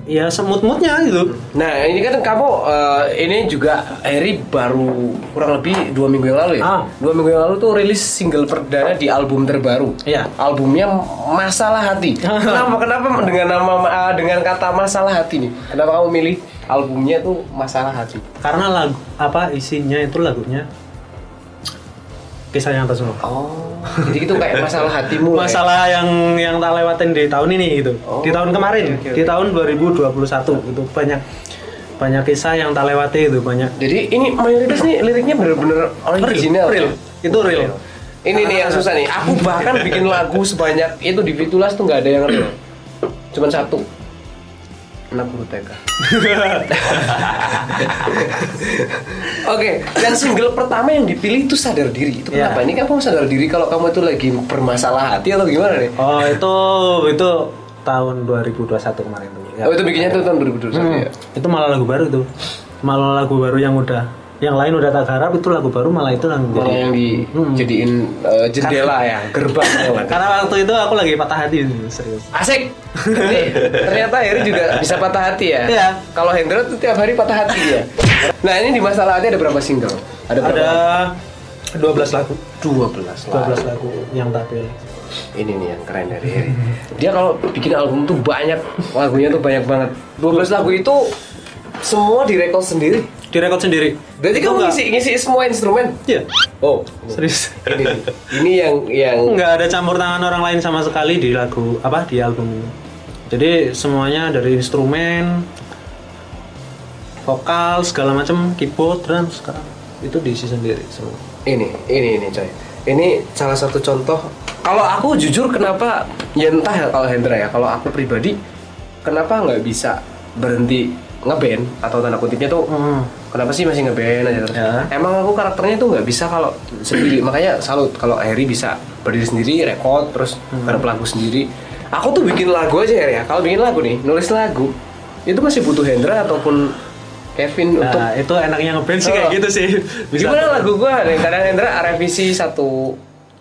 ya semut-mutnya gitu. Nah ini kan kamu eh, ini juga Eri baru kurang lebih dua minggu yang lalu ya. Ah. Dua minggu yang lalu tuh rilis single perdana di album terbaru. Iya. Albumnya Masalah Hati. kenapa kenapa dengan nama eh, dengan kata Masalah Hati nih? Kenapa kamu milih albumnya tuh Masalah Hati? Karena lagu apa isinya itu lagunya kisah yang atas semua Oh. Jadi itu kayak masalah hatimu. ya? masalah yang yang tak lewatin di tahun ini gitu Oh, di tahun kemarin oke, oke, di tahun 2021 itu gitu. banyak banyak kisah yang tak lewati itu banyak Jadi ini mayoritas nih liriknya bener-bener original. real. itu real Ini nih yang susah nih. Aku bahkan bikin lagu sebanyak itu di Fitulas tuh nggak ada yang real. Cuman satu. Anak guru TK. Oke, dan single pertama yang dipilih itu sadar diri. Itu Iya. kenapa? Ini kamu sadar diri kalau kamu itu lagi bermasalah hati atau gimana nih? oh itu itu tahun 2021 kemarin tuh ya. Oh, itu bikinnya tuh tahun 2021 Hmm, ya. itu malah lagu baru tuh malah lagu baru yang udah yang lain udah tak harap itu lagu baru malah itu lagu Malah yang dijadiin eh, jendela ya, gerbang. karena waktu itu aku lagi patah hati serius Asik. Ini ternyata Heri juga bisa patah hati ya. Iya. Kalau Hendro tuh tiap hari patah hati ya. Nah, ini di masalah hati ada berapa single? Ada berapa? ada 12 lagu 12 lah. 12 lagu yang tak pilih Ini nih yang keren dari Heri. Dia kalau bikin album tuh banyak, lagunya tuh banyak banget. 12 lagu itu semua direkod sendiri. direkod sendiri Berarti kamu Enggak. ngisi ngisi semua instrumen. iya Oh, serius ini, nih. ini yang yang nggak ada campur tangan orang lain sama sekali di lagu apa di album ini jadi semuanya dari instrumen vokal segala macam keyboard drum segala itu diisi sendiri semua ini ini ini coy ini salah satu contoh kalau aku jujur kenapa ya entah ya kalau Hendra ya kalau aku pribadi kenapa nggak bisa berhenti ngeband atau tanda kutipnya tuh kenapa sih masih ngeband aja terus Hmm. Ya. emang aku karakternya tuh nggak bisa kalau sendiri makanya salut kalau Harry bisa berdiri sendiri rekod terus Hmm. garap lagu sendiri aku tuh bikin lagu aja Harry, ya kalau bikin lagu nih nulis lagu itu masih butuh Hendra ataupun Kevin untuk nah itu enaknya ngeband sih kayak Oh. gitu sih bisa Gimana lagu gue ada yang kadang Hendra revisi satu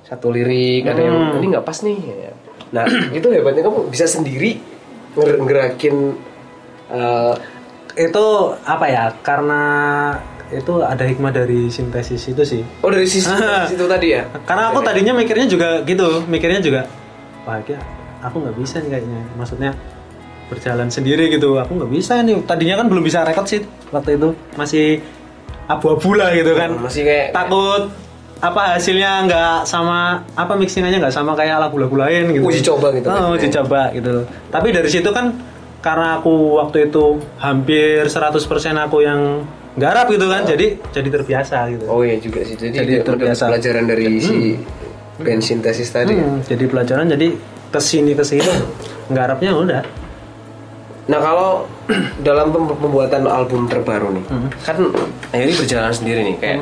satu lirik ada yang Hmm. ini nggak pas nih. Nah itu hebatnya kamu bisa sendiri nger- ngerakin eh, itu apa ya karena itu ada hikmah dari sintesis itu sih oh dari sisi Ah. dari situ tadi ya. karena aku tadinya mikirnya juga gitu mikirnya juga wah kayak aku nggak bisa nih kayaknya maksudnya berjalan sendiri gitu aku nggak bisa nih tadinya kan belum bisa rekod sih waktu itu masih abu-abu lah gitu kan masih kayak takut apa hasilnya nggak sama apa mixingannya nggak sama kayak lagu-lagu lain gitu Uji coba gitu. oh, uji coba gitu tapi dari situ kan karena aku waktu itu hampir 100% aku yang garap gitu kan jadi jadi terbiasa gitu Oh iya juga sih. Jadi, Jadi dia mendapat terbiasa. pelajaran dari si band sintesis tadi. ya. Hmm, jadi pelajaran jadi kesini kesini nggarapnya udah Nah kalau dalam pem- pembuatan album terbaru nih, Hmm. kan akhirnya berjalan sendiri nih kayak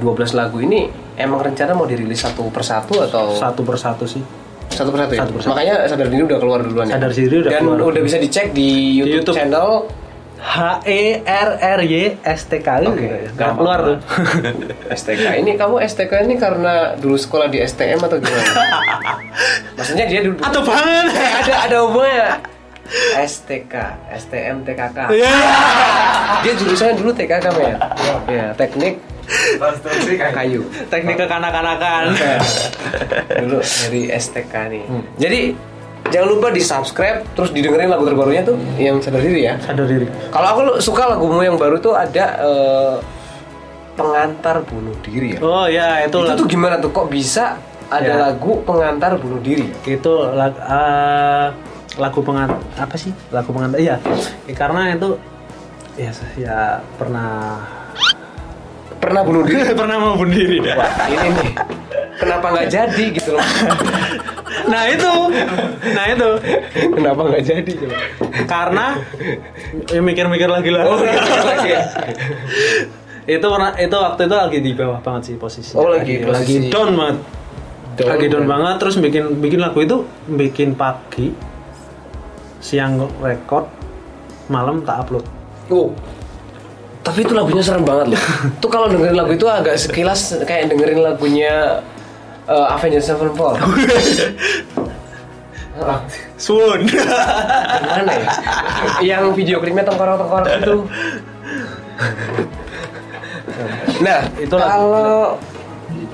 12 lagu ini emang rencana mau dirilis satu persatu atau satu persatu sih satu persatu ya? Satu persatu. makanya sadar diri udah keluar duluan ya? Sadar Diri udah dan keluar. udah bisa dicek di YouTube, YouTube. channel H E R R Y S T K U gampang. keluar tuh STK Nah, ini kamu STK ini karena dulu sekolah di STM atau gimana maksudnya dia dulu atau banget Eh, ada ada hubungannya STK STM TKK ya dia jurusannya dulu TKK ya ya teknik Konstruksi kayak kayu teknik kekanak-kanakan dulu dari STK nih jadi jangan lupa di subscribe terus didengerin lagu terbarunya tuh yang sadar diri ya sadar diri Kalau aku lu- suka lagumu yang baru tuh ada eh, pengantar bunuh diri ya. oh ya itu itu lagu tuh gimana tuh kok bisa ada Ya. lagu pengantar bunuh diri? itu lagu, lagu pengantar apa sih lagu pengantar iya Eh, karena itu ya ya pernah Pernah bunuh diri? pernah mau bunuh diri Wah, ini nih. Kenapa nggak jadi gitu loh? nah itu nah itu Kenapa nggak jadi gitu coba? karena ya mikir-mikir lagi lah Oh, mikir lagi ya? itu pernah itu waktu itu lagi di bawah banget sih posisi Oh, lagi posisi- lagi down banget Down lagi down banget. banget terus bikin bikin lagu itu bikin pagi siang rekod malam tak upload Oh. Tapi itu lagunya serem banget loh. tuh kalau dengerin lagu itu agak sekilas kayak dengerin lagunya eh, Avengers Sevenfold. Ah, sun Mana ya? Yang video klipnya tengkorak-tengkorak gitu. itu. Nah, Itu lah. kalau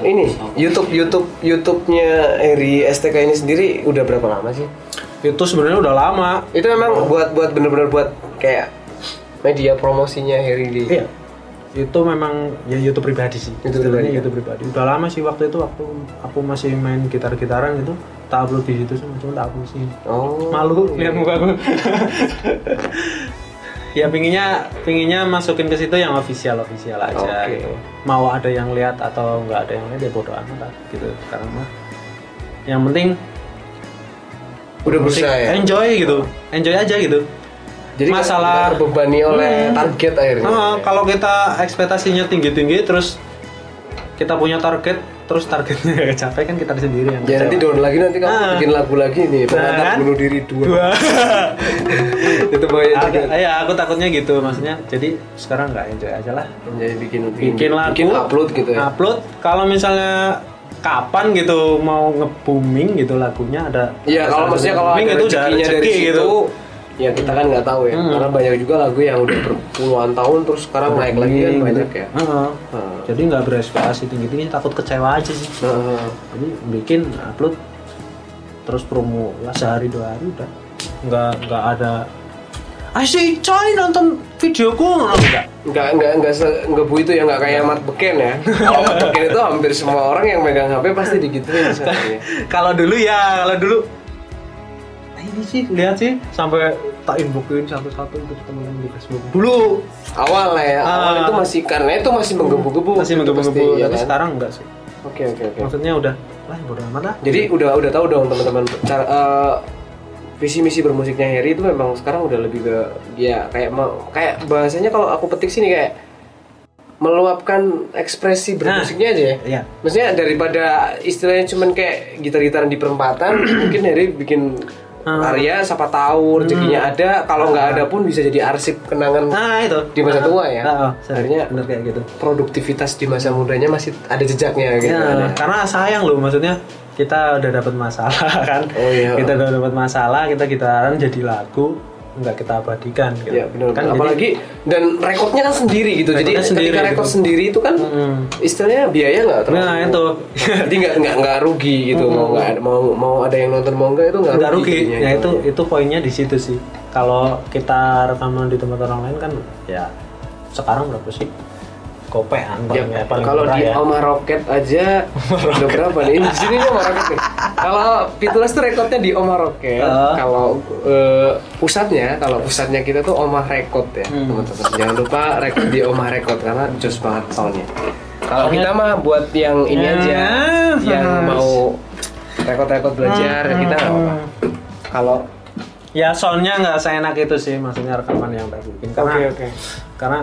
ini YouTube YouTube YouTube-nya Eri STK ini sendiri udah berapa lama sih? itu sebenarnya udah lama Itu memang buat buat bener-bener buat kayak media promosinya Heri di iya itu memang ya YouTube pribadi sih. YouTube pribadi, Istilahnya ya? YouTube pribadi. Udah lama sih waktu itu waktu aku masih main gitar-gitaran gitu, tak upload di situ cuma cuma tak upload sih. Oh. Malu lihat muka aku. ya pinginnya pinginnya masukin ke situ yang official official aja Oke. gitu. Mau ada yang lihat atau nggak ada yang lihat ya bodo amat lah gitu. Sekarang mah yang penting Udah musik berusaha ya. enjoy gitu. Enjoy aja gitu. Jadi nggak- masalah- nggak terbebani oleh Hmm. target akhirnya. Nah, kalau kita ekspektasinya tinggi-tinggi terus kita punya target terus targetnya nggak capek kan kita sendiri yang Ya nanti kecewa. down lagi nanti kamu Ah. bikin lagu lagi nih pengantar kan? bunuh diri dua. Dua. itu bahaya Oh, iya, juga. Ada- ya aku takutnya gitu maksudnya jadi sekarang nggak enjoy aja lah Jadi Ya, bikin bikin lagu bikin upload gitu ya. upload kalau misalnya kapan gitu mau nge booming gitu lagunya ada Iya kalau maksudnya kalau ada booming itu udah rezekinya dari rezeki situ gitu ya kita kan nggak tahu ya Hmm. karena banyak juga lagu yang udah berpuluhan tahun terus sekarang naik lagi kan Gitu. banyak ya. Heeh. Heeh. jadi nggak berespektasi tinggi tinggi takut kecewa aja sih Heeh. jadi bikin upload terus promo lah sehari dua hari udah nggak nggak ada Asyik coy nonton videoku ngono enggak nggak nggak nggak se nggak bu itu ya nggak kayak Mat Beken ya. Kalau Mat Beken itu hampir semua orang yang megang HP pasti digituin sebenarnya. kalau dulu ya kalau dulu "Ah, ini sih lihat sih sampai tak inboxin satu-satu untuk temen di Facebook dulu Awal lah ya, awal Ah. itu masih karena itu masih menggebu-gebu. masih Pasti, menggebu-gebu ya tapi kan? sekarang enggak sih Oke oke oke. maksudnya udah lah bodo amat lah Jadi udah udah tahu dong teman-teman cara eh, visi misi bermusiknya Harry itu memang sekarang udah lebih ke ya kayak me- kayak bahasanya kalau aku petik sini kayak meluapkan ekspresi bermusiknya aja ya. iya. Maksudnya daripada istilahnya cuman kayak gitar-gitaran di perempatan, mungkin Harry bikin karya siapa tahu rezekinya ada, kalau nggak ada pun bisa jadi arsip kenangan nah itu di masa tua ya. Nah, oh, Akhirnya- akhirnya bener kayak gitu produktivitas di masa mudanya masih ada jejaknya gitu. Ya, Ada. karena sayang loh maksudnya kita udah dapat masalah kan. Oh, iya. Kita udah dapat masalah, kita gitaran jadi lagu nggak kita abadikan gitu. Ya benar. Kan jadi- Apalagi dan rekodnya kan sendiri gitu. Jadi Rekodnya sendiri ketika gitu. rekod sendiri itu kan Mm-mm. istilahnya biaya nggak terlalu. Nah, itu. Jadi nggak nggak nggak rugi gitu. Mau nggak ada- mau mau ada yang nonton mau nggak itu nggak nggak rugi. jadinya Ya gitu. itu itu poinnya di situ sih. Kalau kita rekaman di tempat orang lain kan ya sekarang berapa sih? Kopean Ya, paling, ya, paling kalau murah di ya. Oma Rocket aja udah berapa nih? Di sini ini Oma Rocket nih. Kalau Pitulas tuh rekodnya di Oma Rocket. Ah. Kalau eh, pusatnya, kalau pusatnya kita tuh Oma Record ya, Hmm. teman-teman. Jangan lupa record di Oma Record karena jos banget soundnya. Kalau kita mah buat yang ini aja, Ya, yang harus. mau rekod-rekod belajar Hmm, kita nggak apa-apa. Kalau Ya soundnya nggak seenak itu sih maksudnya rekaman yang tadi bikin karena karena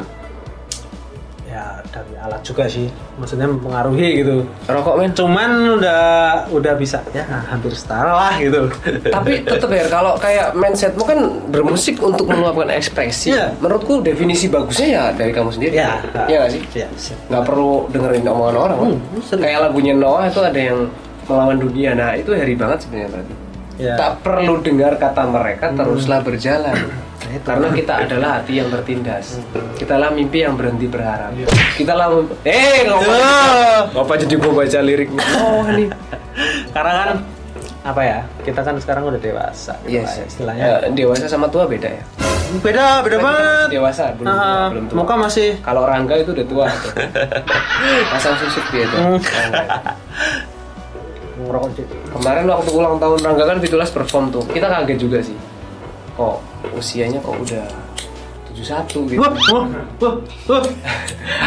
ya dari alat juga sih maksudnya mempengaruhi gitu Rokok men. cuman udah udah bisa ya hampir setara lah gitu tapi tetap ya kalau kayak mindsetmu kan bermusik untuk meluapkan ekspresi Iya. menurutku definisi bagusnya ya dari kamu sendiri ya Iya nggak sih ya sih. nggak perlu dengerin omongan orang kan? Hmm, serius. kayak lagunya Noah itu ada yang melawan dunia nah itu hari banget sebenarnya tadi ya tak perlu dengar kata mereka teruslah berjalan Hmm. Nah, itu. Hmm. karena kita adalah hati yang tertindas kitalah mimpi yang berhenti berharap Iya. kitalah eh Tuh. ngapa apa jadi gua baca liriknya oh nih karena kan apa ya kita kan sekarang udah dewasa gitu yes lah, istilahnya Eh, dewasa sama tua beda ya beda beda banget dewasa belum Ah, belum tua. muka masih Kalau Rangga itu udah tua tuh. Pasang susuk dia tuh. Hmm. Rangga. ngerokok gitu. Kemarin waktu ulang tahun Rangga kan Fitulas perform tuh. Kita kaget juga sih. Kok usianya kok udah 71 gitu. Wah, iya, wah, wah, wah.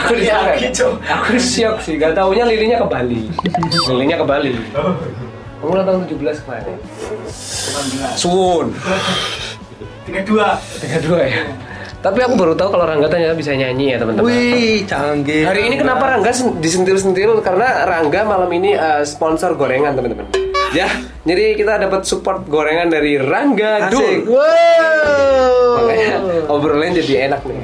aku kaget. gitu. Aku siap sih. Gak taunya lilinya ke Bali. lilinya ke Bali. Kamu ulang tahun 17 kemarin. Suun. 32 32 ya. Tapi aku baru tahu kalau Rangga ternyata bisa nyanyi ya, teman-teman. Wih, canggih. Hari ini kenapa Rangga sen- disentil-sentil? Karena Rangga malam ini eh, sponsor gorengan teman-teman. Ya, jadi kita dapat support gorengan dari Rangga Asik. Dul. Wow. Makanya obrolan jadi enak nih.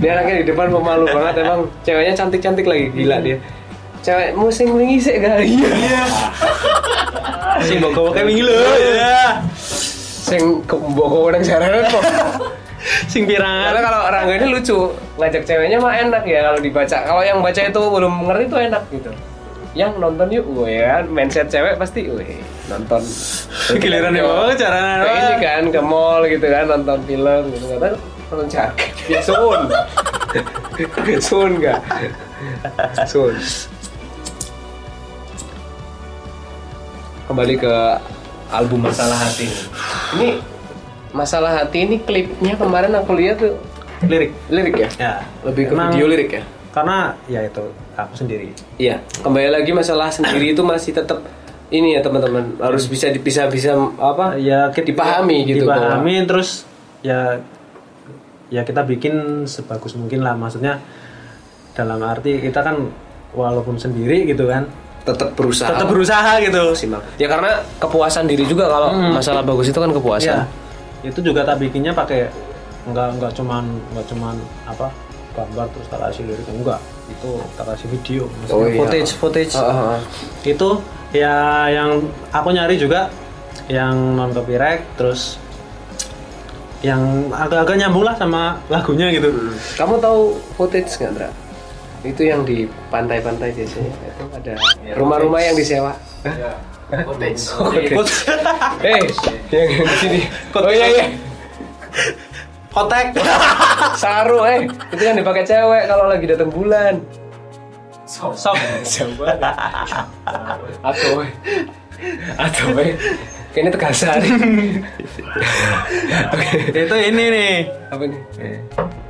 Dia anaknya di depan pemalu banget emang. Ceweknya cantik-cantik lagi gila dia. Cewek musim wingi sih kali. Iya. Si bawa kayak wingi lho, ya. Sing keboko nang jaranan kok. Sing pirangan. Karena kalau Rangga ini lucu, ngajak ceweknya mah enak ya kalau dibaca. Kalau yang baca itu belum ngerti itu enak gitu. Yang nonton yuk, gue ya, mindset cewek pasti, weh nonton. ya. Giliran yang bawa caranya Ke ini kan ke mall gitu kan nonton film gitu kan nonton jaket. Sun. Sun nggak? Sun. Kembali ke album Masalah Hati. Ini Masalah Hati ini klipnya kemarin aku lihat tuh Lirik. lirik ya? Ya. Lebih ke Emang- video lirik ya? Karena ya itu aku sendiri. Iya, kembali lagi masalah sendiri itu masih tetap ini ya teman-teman harus bisa dipisah bisa apa Ya Ah, kita dipahami gitu bahwa- Dipahami terus ya ya kita bikin sebagus mungkin lah. Maksudnya dalam arti kita kan walaupun sendiri gitu kan tetap berusaha tetap berusaha gitu. maksimal ya karena kepuasan diri juga kalau masalah bagus itu kan kepuasan Iya. Itu juga tak bikinnya pakai nggak nggak cuman nggak cuman apa gambar terus tak kasih lirik enggak itu tak kasih video maksudnya Oh, iya. footage footage Ah, ah, ah. itu ya yang aku nyari juga yang non copyright terus yang agak-agak nyambung lah sama lagunya gitu kamu tahu footage nggak Dra? itu yang di pantai-pantai biasanya itu ada rumah-rumah yang disewa Oh, Footage. eh yang di sini oh iya iya kotek saru eh itu yang dipakai cewek kalau lagi datang bulan So, Sob. atau eh. atau eh. kayaknya tegasan itu ini nih apa nih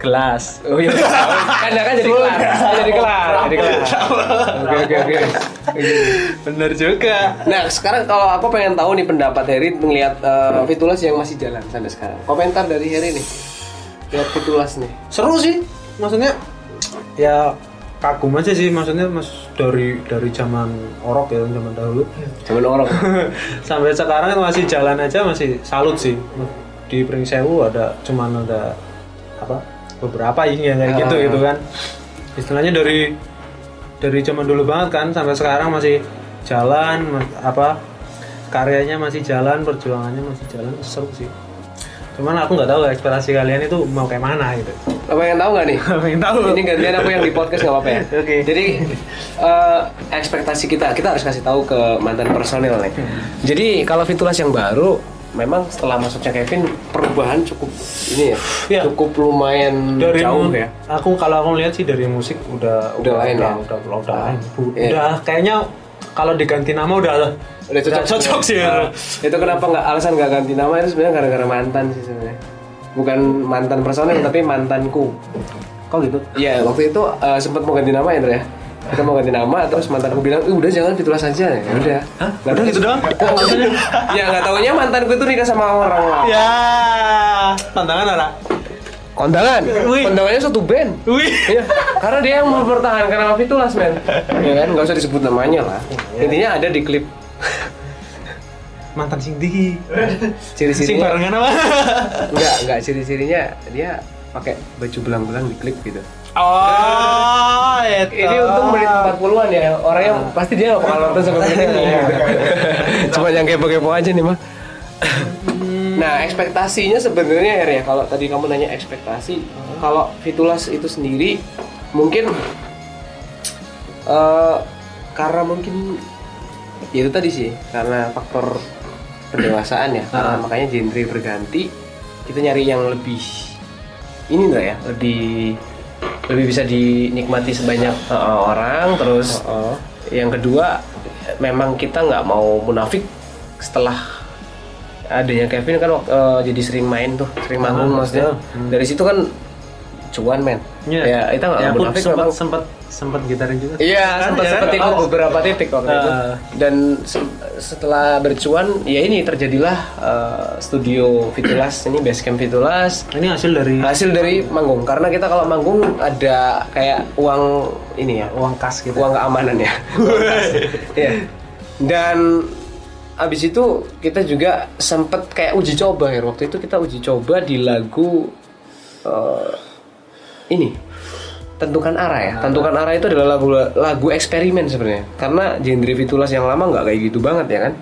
gelas Oh iya, kan kan jadi kelar, kan jadi kelar, jadi kelar. Oke oke oke. Oke. bener juga Nah sekarang kalau aku pengen tahu nih pendapat Heri melihat eh, Fitulas yang masih jalan sampai sekarang. Komentar dari Heri nih, lihat Fitulas nih. seru sih maksudnya ya kagum aja sih maksudnya mas dari dari zaman orok ya zaman dahulu Cuman orang. sampai sekarang masih jalan aja masih salut sih di Pringsewu ada cuman ada apa beberapa ini yang kayak gitu gitu kan istilahnya dari dari zaman dulu banget kan sampai sekarang masih jalan ma- apa karyanya masih jalan perjuangannya masih jalan seru sih cuman aku nggak tahu ekspektasi kalian itu mau kayak mana gitu Lo pengen tahu nggak nih? pengen tahu Ini gantian aku yang di podcast nggak apa-apa ya. Oke. Jadi eh, ekspektasi kita, kita harus kasih tahu ke mantan personil nih. Jadi kalau Fitulas yang baru, memang setelah masuknya Kevin perubahan cukup ini ya, Iya. cukup lumayan dari jauh mu- ya. aku kalau aku lihat sih dari musik udah Udah lain udah, ya? udah udah, udah lain Bu- Iya. udah kayaknya kalau diganti nama udah udah cocok cocok sih ya. Nah, itu kenapa nggak alasan nggak ganti nama itu sebenarnya gara-gara mantan sih sebenarnya bukan mantan personel Iya. tapi mantanku kok gitu iya waktu itu eh, sempat mau ganti nama ya Indra ya kita mau ganti nama terus mantanku bilang "Ih, udah jangan ditulis aja ya udah Hah? Udah gitu doang? Nggak tahu. ya nggak taunya mantanku itu nikah sama orang lain ya tantangan ada kondangan Wih. kondangannya satu band wih Iya, karena dia yang mempertahankan nama Fitulas, men. Ya kan, nggak usah disebut namanya lah. Iya. Intinya ada di klip mantan sing di sing ciri-cirinya. barengan apa Enggak, enggak ciri-cirinya dia pakai baju belang-belang di klip gitu. oh itu Ini untung menit 40-an ya, orangnya pasti dia nggak bakal nonton sampai menit ini. Cuma yang kepo-kepo aja nih, mah. Nah, ekspektasinya sebenarnya Her ya, kalau tadi kamu nanya ekspektasi, kalau Fitulas itu sendiri mungkin eh karena mungkin ya itu tadi sih, karena faktor pendewasaan ya, karena Ah. makanya genre berganti, kita nyari yang lebih ini enggak ya, lebih lebih bisa dinikmati sebanyak eh, orang, terus Oh, yang kedua memang kita nggak mau munafik setelah adanya Kevin kan wak- eh, jadi sering main tuh sering manggung Ah, maksudnya dari situ kan cuan men ya kita nggak Hmm. ya, aku munafik sempat memang sempat sempat gitarin juga Iya, sempat ya, sempat kan? ikut beberapa titik waktu itu. Ah. Dan se- setelah bercuan, ya ini terjadilah eh, studio Fitulas ini Basecamp Fitulas ini hasil dari hasil dari manggung karena kita kalau manggung ada kayak uang ini ya uang kas gitu uang keamanan ya. Uang kas. Iya. Dan abis itu kita juga sempet kayak uji coba ya. Waktu itu kita uji coba di lagu eh, ini tentukan arah ya. Tentukan arah itu adalah lagu lagu eksperimen sebenarnya. Karena genre Fitulas yang lama nggak kayak gitu banget ya kan.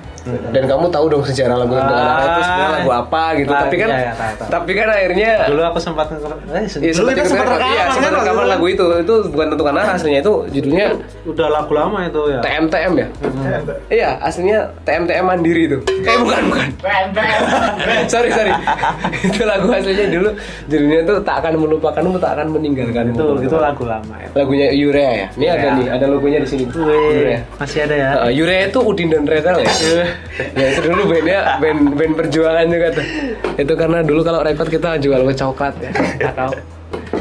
Dan kamu tahu dong sejarah lagu lagu Ah. anak itu sebenarnya lagu apa gitu. Nah, tapi kan iya, iya, tahu, tahu. tapi kan akhirnya Dulu aku sempat eh, Iya, dulu kita sempat rekaman iya, sempat kan waktu rekaman itu. lagu itu. Itu bukan tentukan arah aslinya itu judulnya Udah lagu lama itu ya. Hmm. TMTM ya. Iya, aslinya TMTM Mandiri itu. Eh bukan bukan. sorry sorry. itu lagu aslinya dulu judulnya tuh tak akan melupakanmu, tak akan meninggalkanmu. Itu Teman-teman. itu lagu lama ya. lagunya Yurea ya. Ini ada Yurea. nih, ada logonya di sini. Yurea. Weh, masih ada ya. Uh, Yurea itu Udin dan Retel ya. ya itu dulu bandnya band band perjuangan juga tuh. Itu karena dulu kalau record kita jual ke coklat ya. Kakao.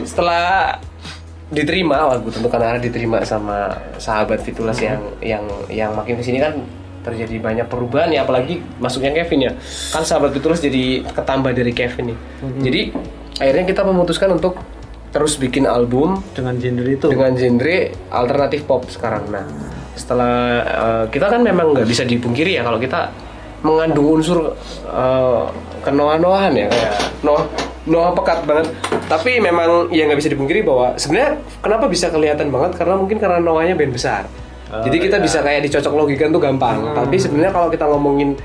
Setelah diterima lagu tentukan arah diterima sama sahabat Fitulas yang yang yang makin kesini kan terjadi banyak perubahan ya apalagi masuknya Kevin ya kan sahabat Fitulas jadi ketambah dari Kevin nih jadi akhirnya kita memutuskan untuk terus bikin album Dengan gender itu. dengan genre alternatif pop sekarang. Nah, setelah eh, kita kan memang nggak bisa dipungkiri ya kalau kita mengandung unsur eh, kenoa-noahan ya, Iya. kayak noah noah pekat banget. Tapi memang ya nggak bisa dipungkiri bahwa sebenarnya kenapa bisa kelihatan banget karena mungkin karena noahnya band besar. Oh, Jadi iya. kita bisa kayak dicocok logikan tuh gampang. Hmm. Tapi sebenarnya kalau kita ngomongin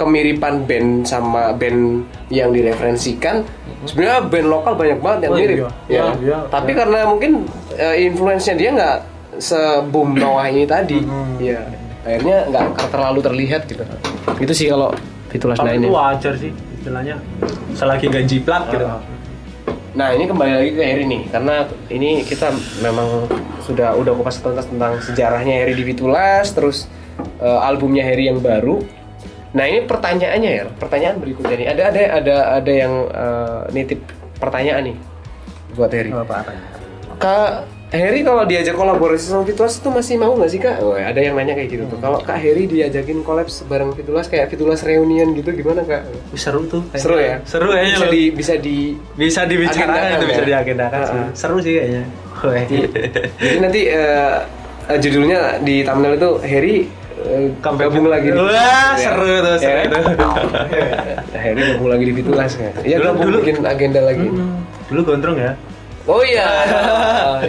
kemiripan band sama band yang direferensikan, sebenarnya band lokal banyak banget yang Hmm. Oh, mirip. iya. Ya. Iya, iya. Tapi karena mungkin eh, influence-nya dia nggak se-boom Noah ini tadi. Iya. Akhirnya nggak akan terlalu terlihat gitu. Itu sih kalau Fitulas Tapi lainnya. itu wajar sih istilahnya. Selagi nggak jiplak gitu. Nah, ini kembali lagi ke Heri nih karena ini kita memang sudah udah kupas tuntas tentang sejarahnya Heri di Fitulas, terus eh, albumnya Heri yang baru. Nah, ini pertanyaannya ya, pertanyaan berikutnya nih. Ada ada ada ada yang eh, nitip pertanyaan nih buat Heri. Apa-apa. Kak Heri kalau diajak kolaborasi sama Fitulas itu masih mau nggak sih kak? Oh, ada yang nanya kayak gitu tuh. Hmm. Kalau Kak Heri diajakin kolaps bareng Fitulas kayak Fitulas reunion gitu gimana kak? Wih, seru tuh. kayaknya. Seru ya? Seru kayaknya Bisa loh. di bisa di bisa dibicarakan Agendakan itu bisa ya? diagendakan sih. Heeh. Iya. Seru sih kayaknya. Weh. jadi nanti eh, eh, judulnya di thumbnail itu Heri eh, Comeback. gabung lagi. di Wah, Fitulas, ya. seru tuh, seru kan? Nah, Heri gabung lagi di Fitulas ya. Iya Dulu- gabung dulu. Hmm. bikin agenda lagi. Dulu gondrong ya. Oh iya.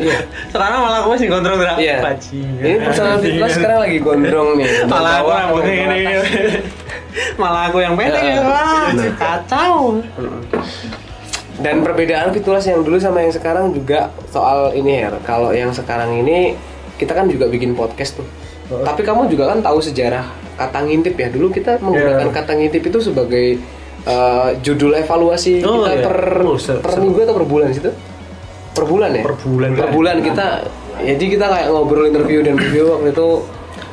Iya. Sekarang malah aku masih gondrong berapa? Iya. Bajingan. Ini personal Fitulas sekarang lagi gondrong nih. Malah aku Bawah, rambutnya bawah. gini. Malah aku yang pendek Heeh. ya. Wah, Kacau. Dan perbedaan fitulas yang dulu sama yang sekarang juga soal ini ya. Kalau yang sekarang ini kita kan juga bikin podcast tuh. Oh. Tapi kamu juga kan tahu sejarah kata ngintip ya. Dulu kita Iya. menggunakan kata ngintip itu sebagai eh, judul evaluasi Oh, kita iya. per Oh, seru, per seru. minggu atau per bulan situ? Per bulan ya? Per bulan. Ah. Per bulan kita jadi kita kayak ngobrol interview dan review waktu itu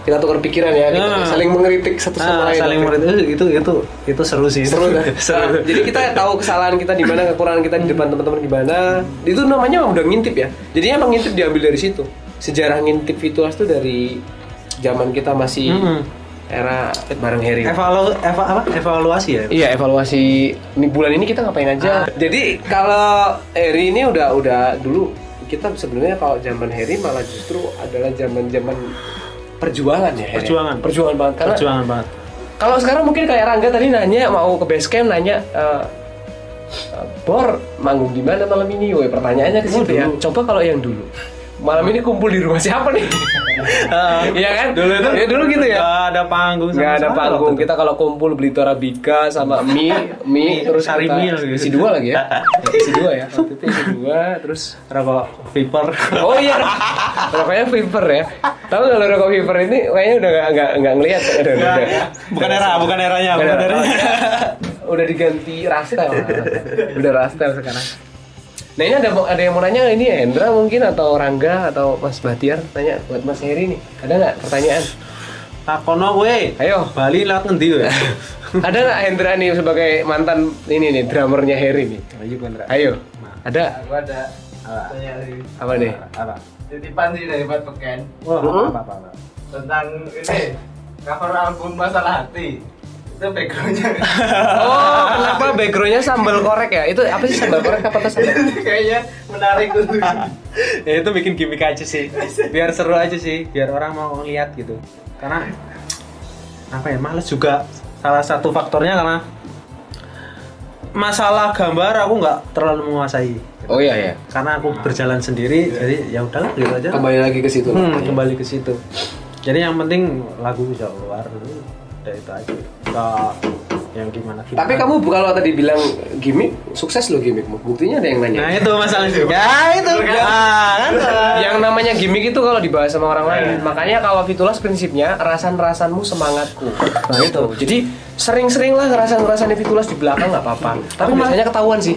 kita tukar pikiran ya, kita Ah. saling mengkritik satu sama Ah, lain. saling merit itu, itu itu itu seru sih. seru dah. Nah, Seru. jadi kita tahu kesalahan kita di mana kekurangan kita di depan teman-teman gimana itu namanya udah ngintip ya jadi emang ngintip diambil dari situ sejarah ngintip fitulas tuh dari zaman kita masih Mm-mm. era bareng Heri Evalu eva- apa? Evaluasi ya. Iya evaluasi ini bulan ini kita ngapain Ah. aja. Jadi kalau Heri ini udah udah dulu kita sebenarnya kalau zaman Heri malah justru adalah zaman zaman perjuangan ya. Heri. Perjuangan. Perjuangan banget karena Perjuangan banget. kalau sekarang mungkin kayak Rangga tadi nanya mau ke base camp nanya eh, eh, Bor manggung di mana malam ini? Woi pertanyaannya ke situ ya. Coba kalau yang dulu malam ini kumpul di rumah siapa nih? Eh, Iya kan? Dulu itu ya dulu gitu ya. Gak ada panggung sama Nggak ada sekali panggung. waktu itu. Kita kalau kumpul beli torabika sama mie, mie terus sari kita- mie lagi. isi dua lagi ya. Isi dua ya. Waktu itu isi dua terus rokok viper. Oh iya, rokoknya Fever ya. Tahu nggak lo rokok Fever ini kayaknya udah nggak nggak nggak ngelihat. Udah, udah, udah. bukan era, bukan eranya, Nggak bukan ada eranya. apa-apa. udah diganti rastel udah rastel sekarang nah ini ada ada yang mau nanya nggak? ini Hendra mungkin atau Rangga atau Mas Bahtiar tanya buat Mas Heri nih ada nggak pertanyaan Takono we. ayo Bali lewat ngendi we? ada nggak Hendra nih sebagai mantan ini nih drummernya Heri nih Ayo bener. ayo ada Aku ada pertanyaan sih. apa nih Apa? Titipan sih dari Pak Peken Wah, Hmm? apa apa. apa. tentang ini cover album Masalah Hati. Itu backgroundnya oh kenapa backgroundnya sambal korek ya itu apa sih sambal korek apa tuh sambal kayaknya menarik untuk ya itu bikin gimmick aja sih biar seru aja sih biar orang mau lihat gitu karena apa ya males juga salah satu faktornya karena masalah gambar aku nggak terlalu menguasai oh iya ya karena aku berjalan sendiri jadi ya udah gitu aja kembali lagi ke Iya. situ Hmm, kembali ke situ jadi yang penting lagu bisa keluar ada itu aja kita yang gimana gimana Tapi kamu bu- kalau tadi bilang gimmick, sukses loh gimmickmu. Buktinya ada yang nanya. nah itu masalahnya ya itu Ah, kan yang namanya gimmick itu kalau dibahas sama orang lain. Makanya kalau Fitulas prinsipnya rasan-rasanmu semangatku. Nah itu. Jadi sering-sering lah ngerasan-ngerasannya Fitulas di belakang nggak apa-apa. Tapi biasanya ketahuan sih.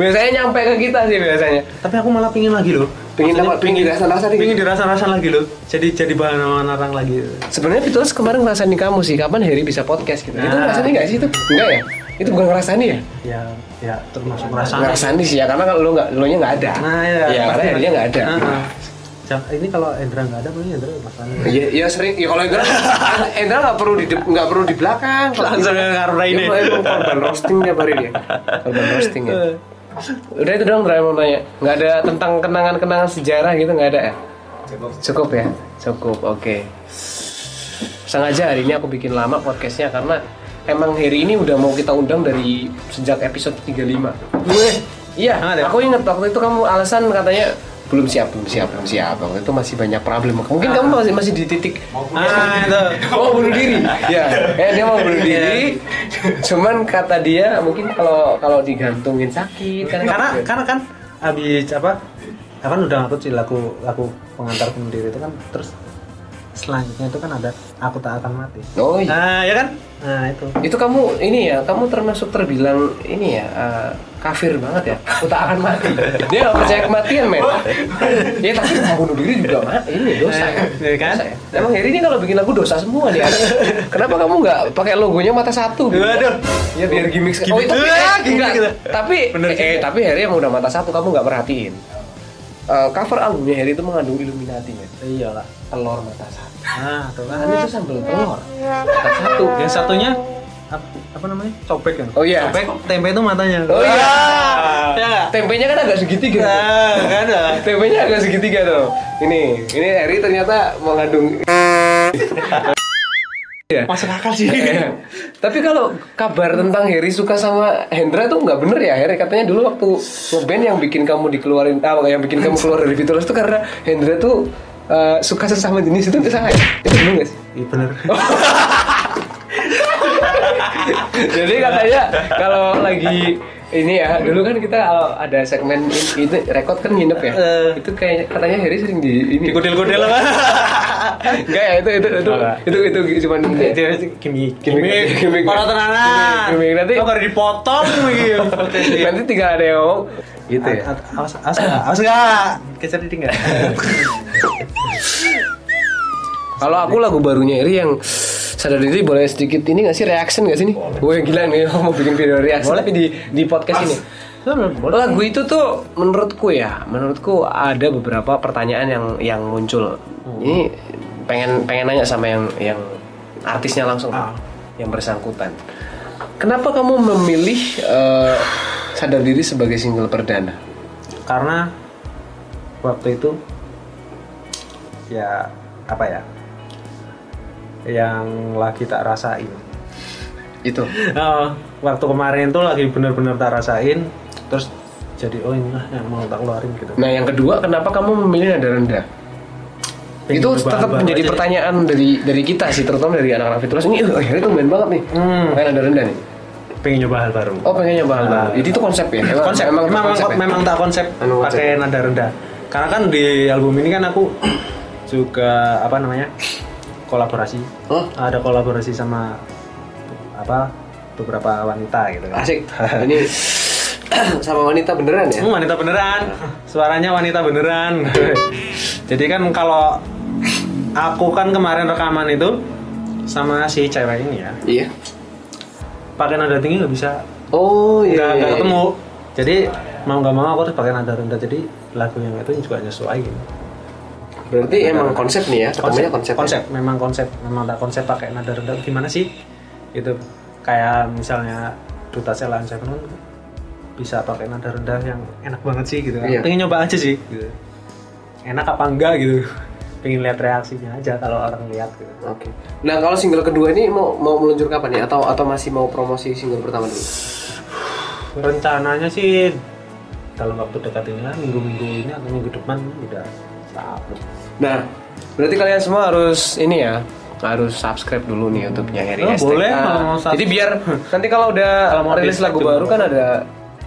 biasanya nyampe ke kita sih biasanya. tapi aku malah pingin lagi loh Pingin apa? Maksudnya Pingin dirasa-rasa nih. pingin dirasa-rasa lagi loh jadi jadi bahan omongan orang lagi Sebenarnya Fitulas kemarin ngerasain di kamu sih. Kapan Harry bisa podcast gitu? Itu Nah. ngerasain nggak sih itu? Enggak ya? Itu bukan ngerasani ya? ya ya termasuk merasa Ngerasani sih ya karena kalau lo nggak lo nya nggak ada. nah ya Ya, karena Harry-nya nggak ada. Heeh. Jangan- ini kalau Endra nggak ada mungkin Endra masalahnya Ya, ya sering. Ya kalau Endra, Endra nggak perlu di de- nggak perlu di belakang. Iya, Kalau langsung ke karena Dia ini emang- emang korban roasting tiap hari dia. Korban roasting ya. Udah itu doang terakhir mau nanya. Nggak ada tentang kenangan-kenangan sejarah gitu nggak ada ya? Cukup. Cukup ya? Cukup, oke. Sengaja hari ini aku bikin lama podcastnya karena emang hari ini udah mau kita undang dari sejak episode 35. Weh, iya, Sangat ya? aku inget waktu itu kamu alasan katanya belum siap, belum siap, belum siap. Waktu itu masih banyak problem. Mungkin kamu masih masih di titik ah itu mau bunuh diri ya eh, dia mau bunuh diri Iya. cuman kata dia mungkin kalau kalau digantungin sakit kan karena karena kan habis apa ya kan udah aku kecil aku aku pengantar pendiri itu kan terus selanjutnya itu kan ada aku tak akan mati oh iya. nah ya kan nah itu itu kamu ini ya kamu termasuk terbilang ini ya eh, kafir banget ya aku tak akan mati dia nggak percaya kematian men ya tapi mau bunuh diri juga mati ini ya dosa ya Eh, iya kan? Dosa ya. emang Heri ini kalau bikin lagu dosa semua nih kenapa kamu nggak pakai logonya mata satu gitu? Waduh. ya biar gimmick oh Gimmick. itu Ah, gimmick kita. tapi Bener eh, eh, tapi Heri yang udah mata satu kamu nggak perhatiin Eh, cover albumnya Heri itu mengandung Illuminati men iyalah telur mata satu Iya nah tuh kan kan itu sambal telur mata satu yang satunya ap- apa namanya cobek kan Oh, iya. cobek tempe itu matanya Oh, iya. Wah. ya nggak? tempenya kan agak segitiga nah kan lah. TP-nya agak segitiga tuh. Ini, ini Eri ternyata mengandung. ya. masuk akal sih Tapi kalau kabar tentang Heri suka sama Hendra tuh nggak bener ya Heri katanya dulu waktu ngeband yang bikin kamu dikeluarin ah, yang bikin kamu keluar dari Fitulas tuh karena Hendra tuh eh, suka sesama jenis itu nggak salah ya? Itu bener nggak sih? iya bener Jadi katanya kalau lagi ini ya dulu kan kita kalau ada segmen in- itu rekod kan nginep ya Eh. itu kayak katanya Heri sering di ini dikodel-kodel apa Enggak ya itu itu itu Enggak. itu itu, cuman Dia gimmick Gimmick, gimmick. para Gimmick, tenanan gimmick. Nanti- Lo gak ada dipotong gitu Potensi. nanti tinggal ada yang ngomong gitu ya. A- a- Awas, awas nggak? Awas nggak? Kecer dikit nggak? Kalau aku lagu barunya Eri yang sadar diri boleh sedikit ini nggak sih reaction nggak sih nih? Gue gila nih aku mau bikin video reaction tapi di di podcast ini. Lagu ya? itu tuh menurutku ya, menurutku ada beberapa pertanyaan yang yang muncul. Hmm. Ini pengen pengen nanya sama yang yang artisnya langsung, Ah. yang bersangkutan. Kenapa kamu memilih eh, sadar diri sebagai single perdana? Karena waktu itu ya apa ya yang lagi tak rasain. Itu. Eh, waktu kemarin tuh lagi bener-bener tak rasain, terus jadi oh ini lah yang mau tak keluarin gitu. Nah yang kedua, kenapa kamu memilih nada rendah? Pengen itu berubah-ubah tetap menjadi aja. ya? pertanyaan dari dari kita sih, terutama dari anak-anak fitulas ini. Oh, itu main banget nih, Hmm. main nada rendah nih. Pengen nyoba hal baru. Oh pengen nyoba hal baru. Jadi itu konsep ya? Emang, konsep memang emang memang, konsep ya? memang tak konsep Memang konsep. pakai nada rendah karena kan di album ini kan aku juga apa namanya kolaborasi Oh. ada kolaborasi sama apa beberapa wanita gitu kan Asik. Ini sama wanita beneran ya? Hmm, wanita beneran suaranya wanita beneran jadi kan kalau aku kan kemarin rekaman itu sama si cewek ini ya Iya. pakai nada tinggi nggak bisa Oh iya. iya, nggak nggak iya. ketemu jadi mau nggak mau aku harus pakai nada rendah jadi lagu yang itu juga nyesuaiin Berarti emang konsep nih ya? Ketemunya konsep. konsep memang konsep memang tak konsep pakai nada rendah gimana sih itu kayak misalnya duta Celan Seven kan bisa pakai nada rendah yang enak banget sih gitu kan. Iya. pengen nyoba aja sih gitu. enak apa enggak gitu pengen lihat reaksinya aja kalau orang lihat gitu ya? Oke. Nah kalau single kedua ini mau mau meluncur kapan ya? Atau atau masih mau promosi single pertama dulu? rencananya sih dalam waktu dekat ini lah minggu-minggu ini atau minggu depan udah kita upload Nah, berarti kalian semua harus ini ya harus subscribe dulu nih YouTube-nya Heri Oh, STK. boleh, kalau mau subscribe. Jadi biar nanti kalau udah Kalau mau rilis dislike lagu juga baru nggak kan ada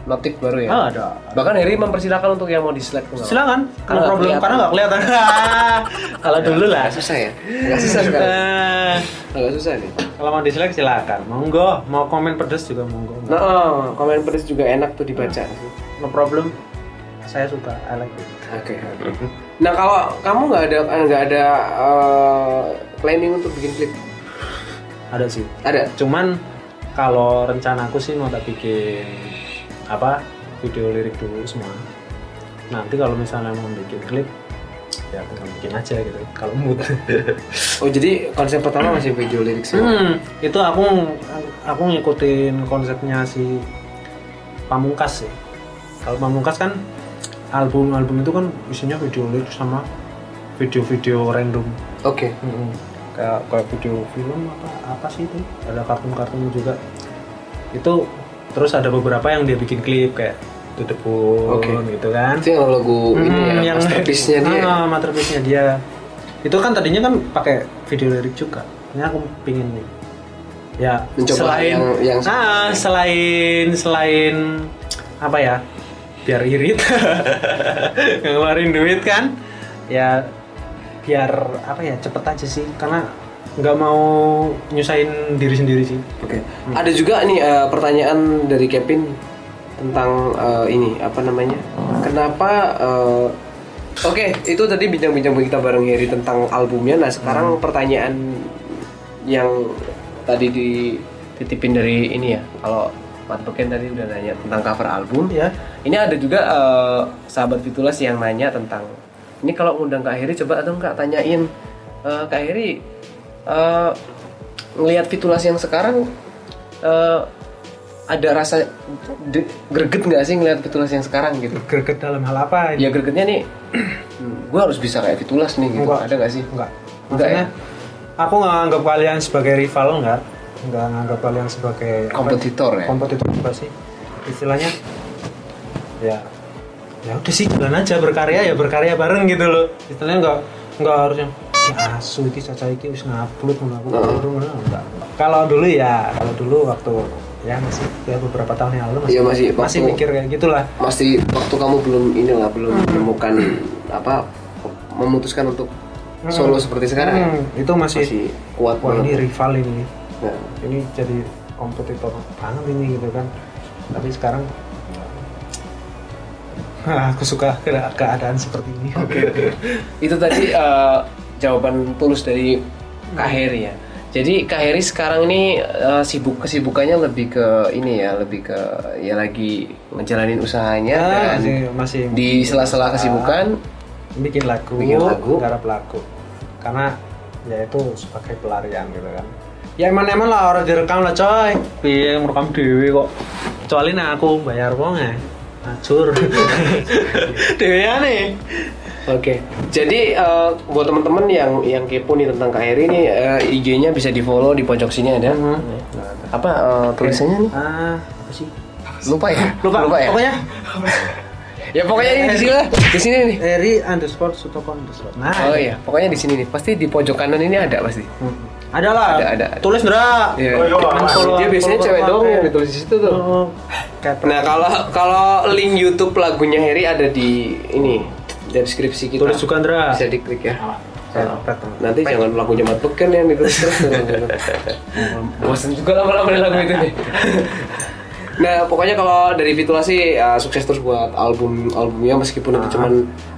notif baru ya. Ah, ada. Bahkan Heri mempersilahkan untuk yang mau dislike tuh nggak apa-apa. Silakan. Kalau Nggak problem kelihatan. karena nggak kelihatan. Kalau dulu lah. Nggak susah ya. Nggak susah sekarang. Eh, Nggak susah nih. Kalau mau dislike silakan. Monggo, mau komen pedes juga monggo. Nah, oh, komen pedes juga enak tuh dibaca. No problem. Saya suka, I like it. Oke. Nah kalau kamu nggak ada nggak ada eh, planning untuk bikin klip Ada sih. ada? Cuman kalau rencanaku sih mau tak bikin apa video lirik dulu semua. Nanti kalau misalnya mau bikin klip, ya tinggal bikin aja gitu. Kalau mood. Oh jadi konsep pertama masih video ya? lirik sih. Hmm, itu aku aku ngikutin konsepnya si Pamungkas sih. Kalau Pamungkas kan album-album itu kan isinya video lirik sama video-video random. Oke. Mm-mm. Kayak kayak video film apa apa sih itu? Ada kartun-kartun juga. Itu terus ada beberapa yang dia bikin klip kayak To The Bone Oke. gitu kan. Itu yang lagu ini Hmm, ya, masterpiece-nya dia. Ah, masterpiece-nya dia. Itu kan tadinya kan pakai video lirik juga. Ini aku pingin nih. Ya, Mencoba selain yang- yang- ah, selain selain apa ya? Biar irit. Ngeluarin duit kan. Ya biar apa ya cepet aja sih karena nggak mau nyusahin diri sendiri sih Oke. Ada juga nih eh, pertanyaan dari Kevin tentang eh, ini apa namanya? Kenapa? eh, Oke, itu tadi bincang-bincang kita bareng Heri tentang albumnya. Nah, sekarang pertanyaan yang tadi dititipin dari ini ya. Kalau Mat Beken tadi udah nanya tentang cover album. ya Ini ada juga eh, sahabat Fitulas yang nanya tentang ini kalau ngundang Kak Heri coba atau Kak tanyain eh, Kak Heri eh, ngelihat Fitulas yang sekarang eh, ada rasa de- greget nggak sih ngelihat Fitulas yang sekarang gitu? greget dalam hal apa Ya gregetnya nih gue harus bisa kayak Fitulas nih gitu. Enggak. Ada nggak sih? Enggak. Enggak ya? Maksudnya, aku nggak nganggap kalian sebagai rival enggak. Enggak nganggap kalian sebagai apa- Kompetitor ya? Kompetitor juga sih. Istilahnya ya ya udah sih jalan aja berkarya ya berkarya bareng gitu loh. Istilahnya enggak enggak harus yang ya asu iki caca iki wis ngupload ngono aku ngono ngono." enggak. Kalau dulu ya, kalau dulu waktu ya masih ya beberapa tahun yang lalu masih Iya, masih masih waktu- mikir kayak gitulah. Masih waktu kamu belum inilah belum Hmm. menemukan apa memutuskan untuk solo seperti sekarang ya? Hmm, itu masih, Masih kuat wah banget. ini rival ini. Nah. ini jadi kompetitor banget ini gitu kan tapi sekarang Nah, aku suka ke- keadaan seperti ini itu tadi eh, jawaban tulus dari Kak Heri ya. Jadi Kak Heri sekarang ini eh, sibuk kesibukannya lebih ke ini ya, lebih ke ya lagi ngejalanin usahanya Ah, dan masih, masih Ah. di sela-sela kesibukan bikin lagu Bikin lagu. garap lagu karena ya itu sebagai pelarian gitu kan ya eman-eman lah orang direkam lah coy piye merekam dewi kok kecuali nah aku bayar wong ya acur dewi nih Oke, jadi eh, buat teman-teman yang yang kepo nih tentang Kak Heri ini eh, IG-nya bisa di follow di pojok sini ada Hmm. apa eh, tulisannya nih ah apa sih lupa ya lupa, ya pokoknya ya pokoknya ini di sini lah di sini nih Eri underscore Sutopo underscore. Nah, oh iya pokoknya di sini nih pasti di pojok kanan ini ada pasti Hmm. Ada lah. Ada, ada, ada. Tulis Ndra. Iya. Oh, iya, Kan Mas. kalau- dia biasanya kalau- cewek kalau- doang yang kalau- ditulis di situ tuh. Oh, kayak Nah, kalau kalau link YouTube lagunya Heri ada di ini deskripsi kita. tulis juga Ndra. Bisa diklik ya. Iya. Saya dapet. Nanti jangan lagunya Mat Beken yang ditulis terus. Bosan juga lama-lama nih lagu itu nih. Nah, pokoknya kalau dari Fitula sih uh, sukses terus buat album albumnya meskipun itu cuman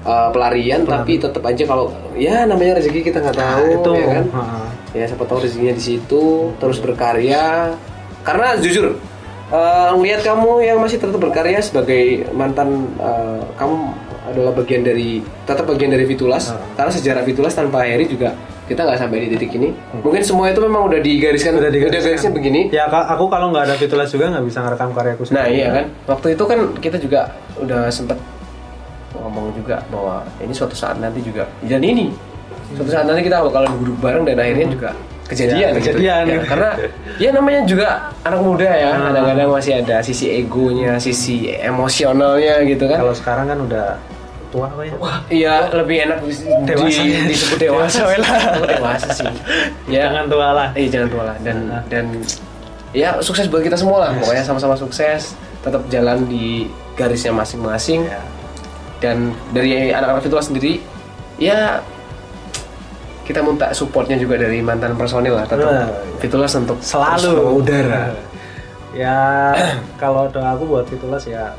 uh, pelarian tapi tetap aja kalau ya namanya rezeki kita nggak tahu itu. ya kan Heeh. ya siapa tahu rezekinya di situ terus berkarya karena jujur eh, ngelihat kamu yang masih tetap berkarya sebagai mantan eh, kamu adalah bagian dari tetap bagian dari Fitulas karena sejarah Fitulas tanpa Heri juga kita nggak sampai di titik ini mungkin semua itu memang udah digariskan udah, garisnya begini Ya ka- aku kalau nggak ada fitulas juga nggak bisa ngerekam karyaku nah sendiri. iya kan waktu itu kan kita juga udah sempet ngomong juga bahwa ini suatu saat nanti juga dan ini suatu saat nanti kita bakalan duduk bareng dan akhirnya juga kejadian Hmm. Ya, gitu. kejadian. Ah. Ya, karena ya namanya juga anak muda ya kadang-kadang masih ada sisi egonya sisi emosionalnya gitu kan Kalau sekarang kan udah tua apa ya? Iya, lebih enak di, Dewasa. di- disebut dewasa. Dewasa, Wela. Disebut dewasa sih. Ya. Jangan tua lah. Iya, jangan tua lah. Dan Nah. dan ya sukses buat kita semua lah. Yes. Pokoknya sama-sama sukses, tetap jalan di garisnya masing-masing. Ya. Dan dari anak-anak virtual sendiri, ya kita minta supportnya juga dari mantan personil lah tetap Nah, Fitulas untuk Selalu. Iya. terus berudara. Ya kalau doa aku buat Fitulas ya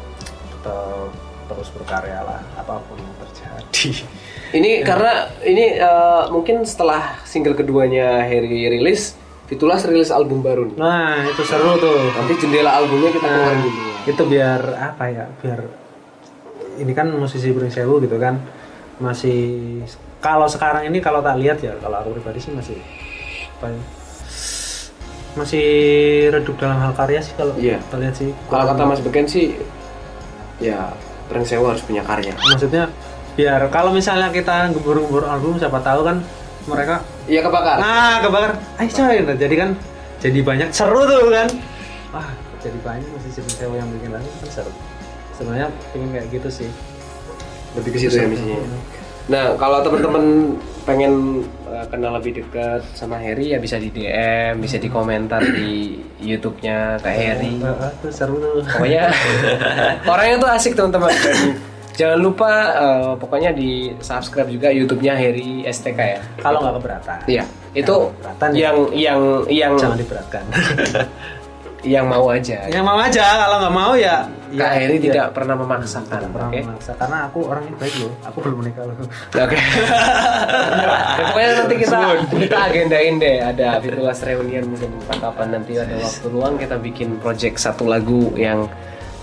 tetap terus berkarya lah apapun yang terjadi. Ini karena ini eh, mungkin setelah single keduanya Harry rilis, Fitulas rilis album baru nih. Nah itu seru tuh. Nanti jendela albumnya kita keluar Nah, dulu. itu biar apa ya biar ini kan musisi Prinsewu gitu kan masih kalau sekarang ini kalau tak lihat ya kalau aku pribadi sih masih apa ya, masih redup dalam hal karya sih kalau Iya. tak lihat sih Kalau kata Mas Beken sih, ya Trend Sewa harus punya karya. maksudnya biar kalau misalnya kita gebur-gebur album siapa tahu kan mereka Iya kebakar. ah kebakar ayo coy Nah, jadi kan jadi banyak seru tuh kan wah jadi banyak musisi Prinsewu yang bikin lagu kan seru sebenarnya pengen kayak gitu sih Lebih ke situ ya misinya. Nah, kalau teman-teman pengen eh, kenal lebih dekat sama Harry ya bisa di DM, bisa di komentar di YouTube-nya Kak Harry. Heeh, tuh seru tuh. pokoknya orangnya tuh asik teman-teman Dan jangan lupa eh, pokoknya di subscribe juga YouTube-nya Heri STK ya Kalau nggak keberatan. iya itu Keberatan ya. yang yang yang Jangan Ya. diberatkan. yang mau aja Yang mau aja, kalau nggak mau ya. ya, Kak Heri ya. tidak pernah memaksakan Tidak oke pernah memaksa karena aku orangnya baik loh. Aku belum menikah loh. oke Ya, pokoknya nanti kita kita agendain deh ada fitulas reunian mungkin kapan nanti ada waktu luang kita bikin project satu lagu yang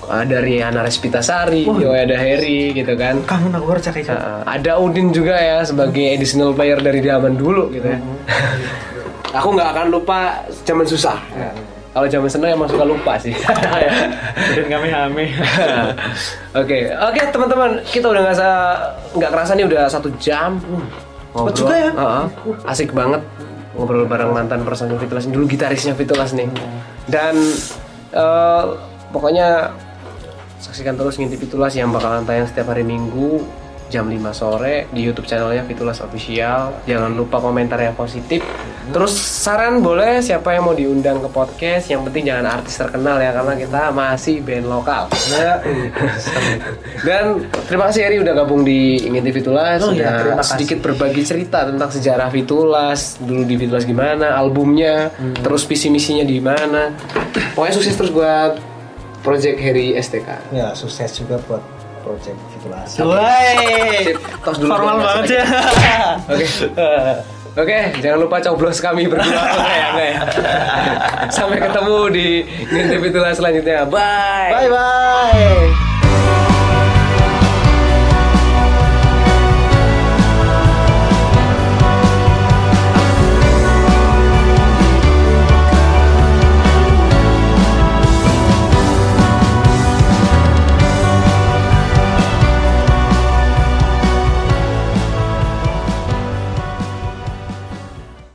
eh, dari Ana Respitasari, Sari, ada Heri gitu kan. Kangen aku kerja kayak gitu. Uh, ada Udin juga ya sebagai additional player dari zaman dulu gitu ya. Aku nggak akan lupa zaman susah. Kalau zaman senang emang suka lupa sih. Dan kami hame. Oke, oke teman-teman kita udah nggak sa- nggak kerasa nih udah satu jam. Hmm, Ngobrol. Cepet juga ya? Uh-uh. Asik banget ngobrol bareng mantan personil Fitulas dulu gitarisnya Fitulas nih. Dan eh, pokoknya saksikan terus ngintip Fitulas yang bakalan tayang setiap hari Minggu jam 5 sore di YouTube channelnya Fitulas Official. Jangan lupa komentar yang positif. Terus saran boleh siapa yang mau diundang ke podcast. Yang penting jangan artis terkenal ya karena kita masih band lokal. Ya, iya. Dan terima kasih Eri udah gabung di Ngintip Fitulas Oh, Udah iya, terima kasih. sedikit berbagi cerita tentang sejarah Fitulas Dulu di Fitulas gimana, albumnya Hmm. Terus visi misinya di mana Pokoknya sukses terus buat Project Heri STK Ya, sukses juga buat project fitulasi. Woi. Sip, tos dulu Formal biar banget nggak ya. Oke Oke, jangan lupa coblos kami berdua Oke, ya, oke. Sampai ketemu di Ngintip Fitulas selanjutnya Bye Bye bye.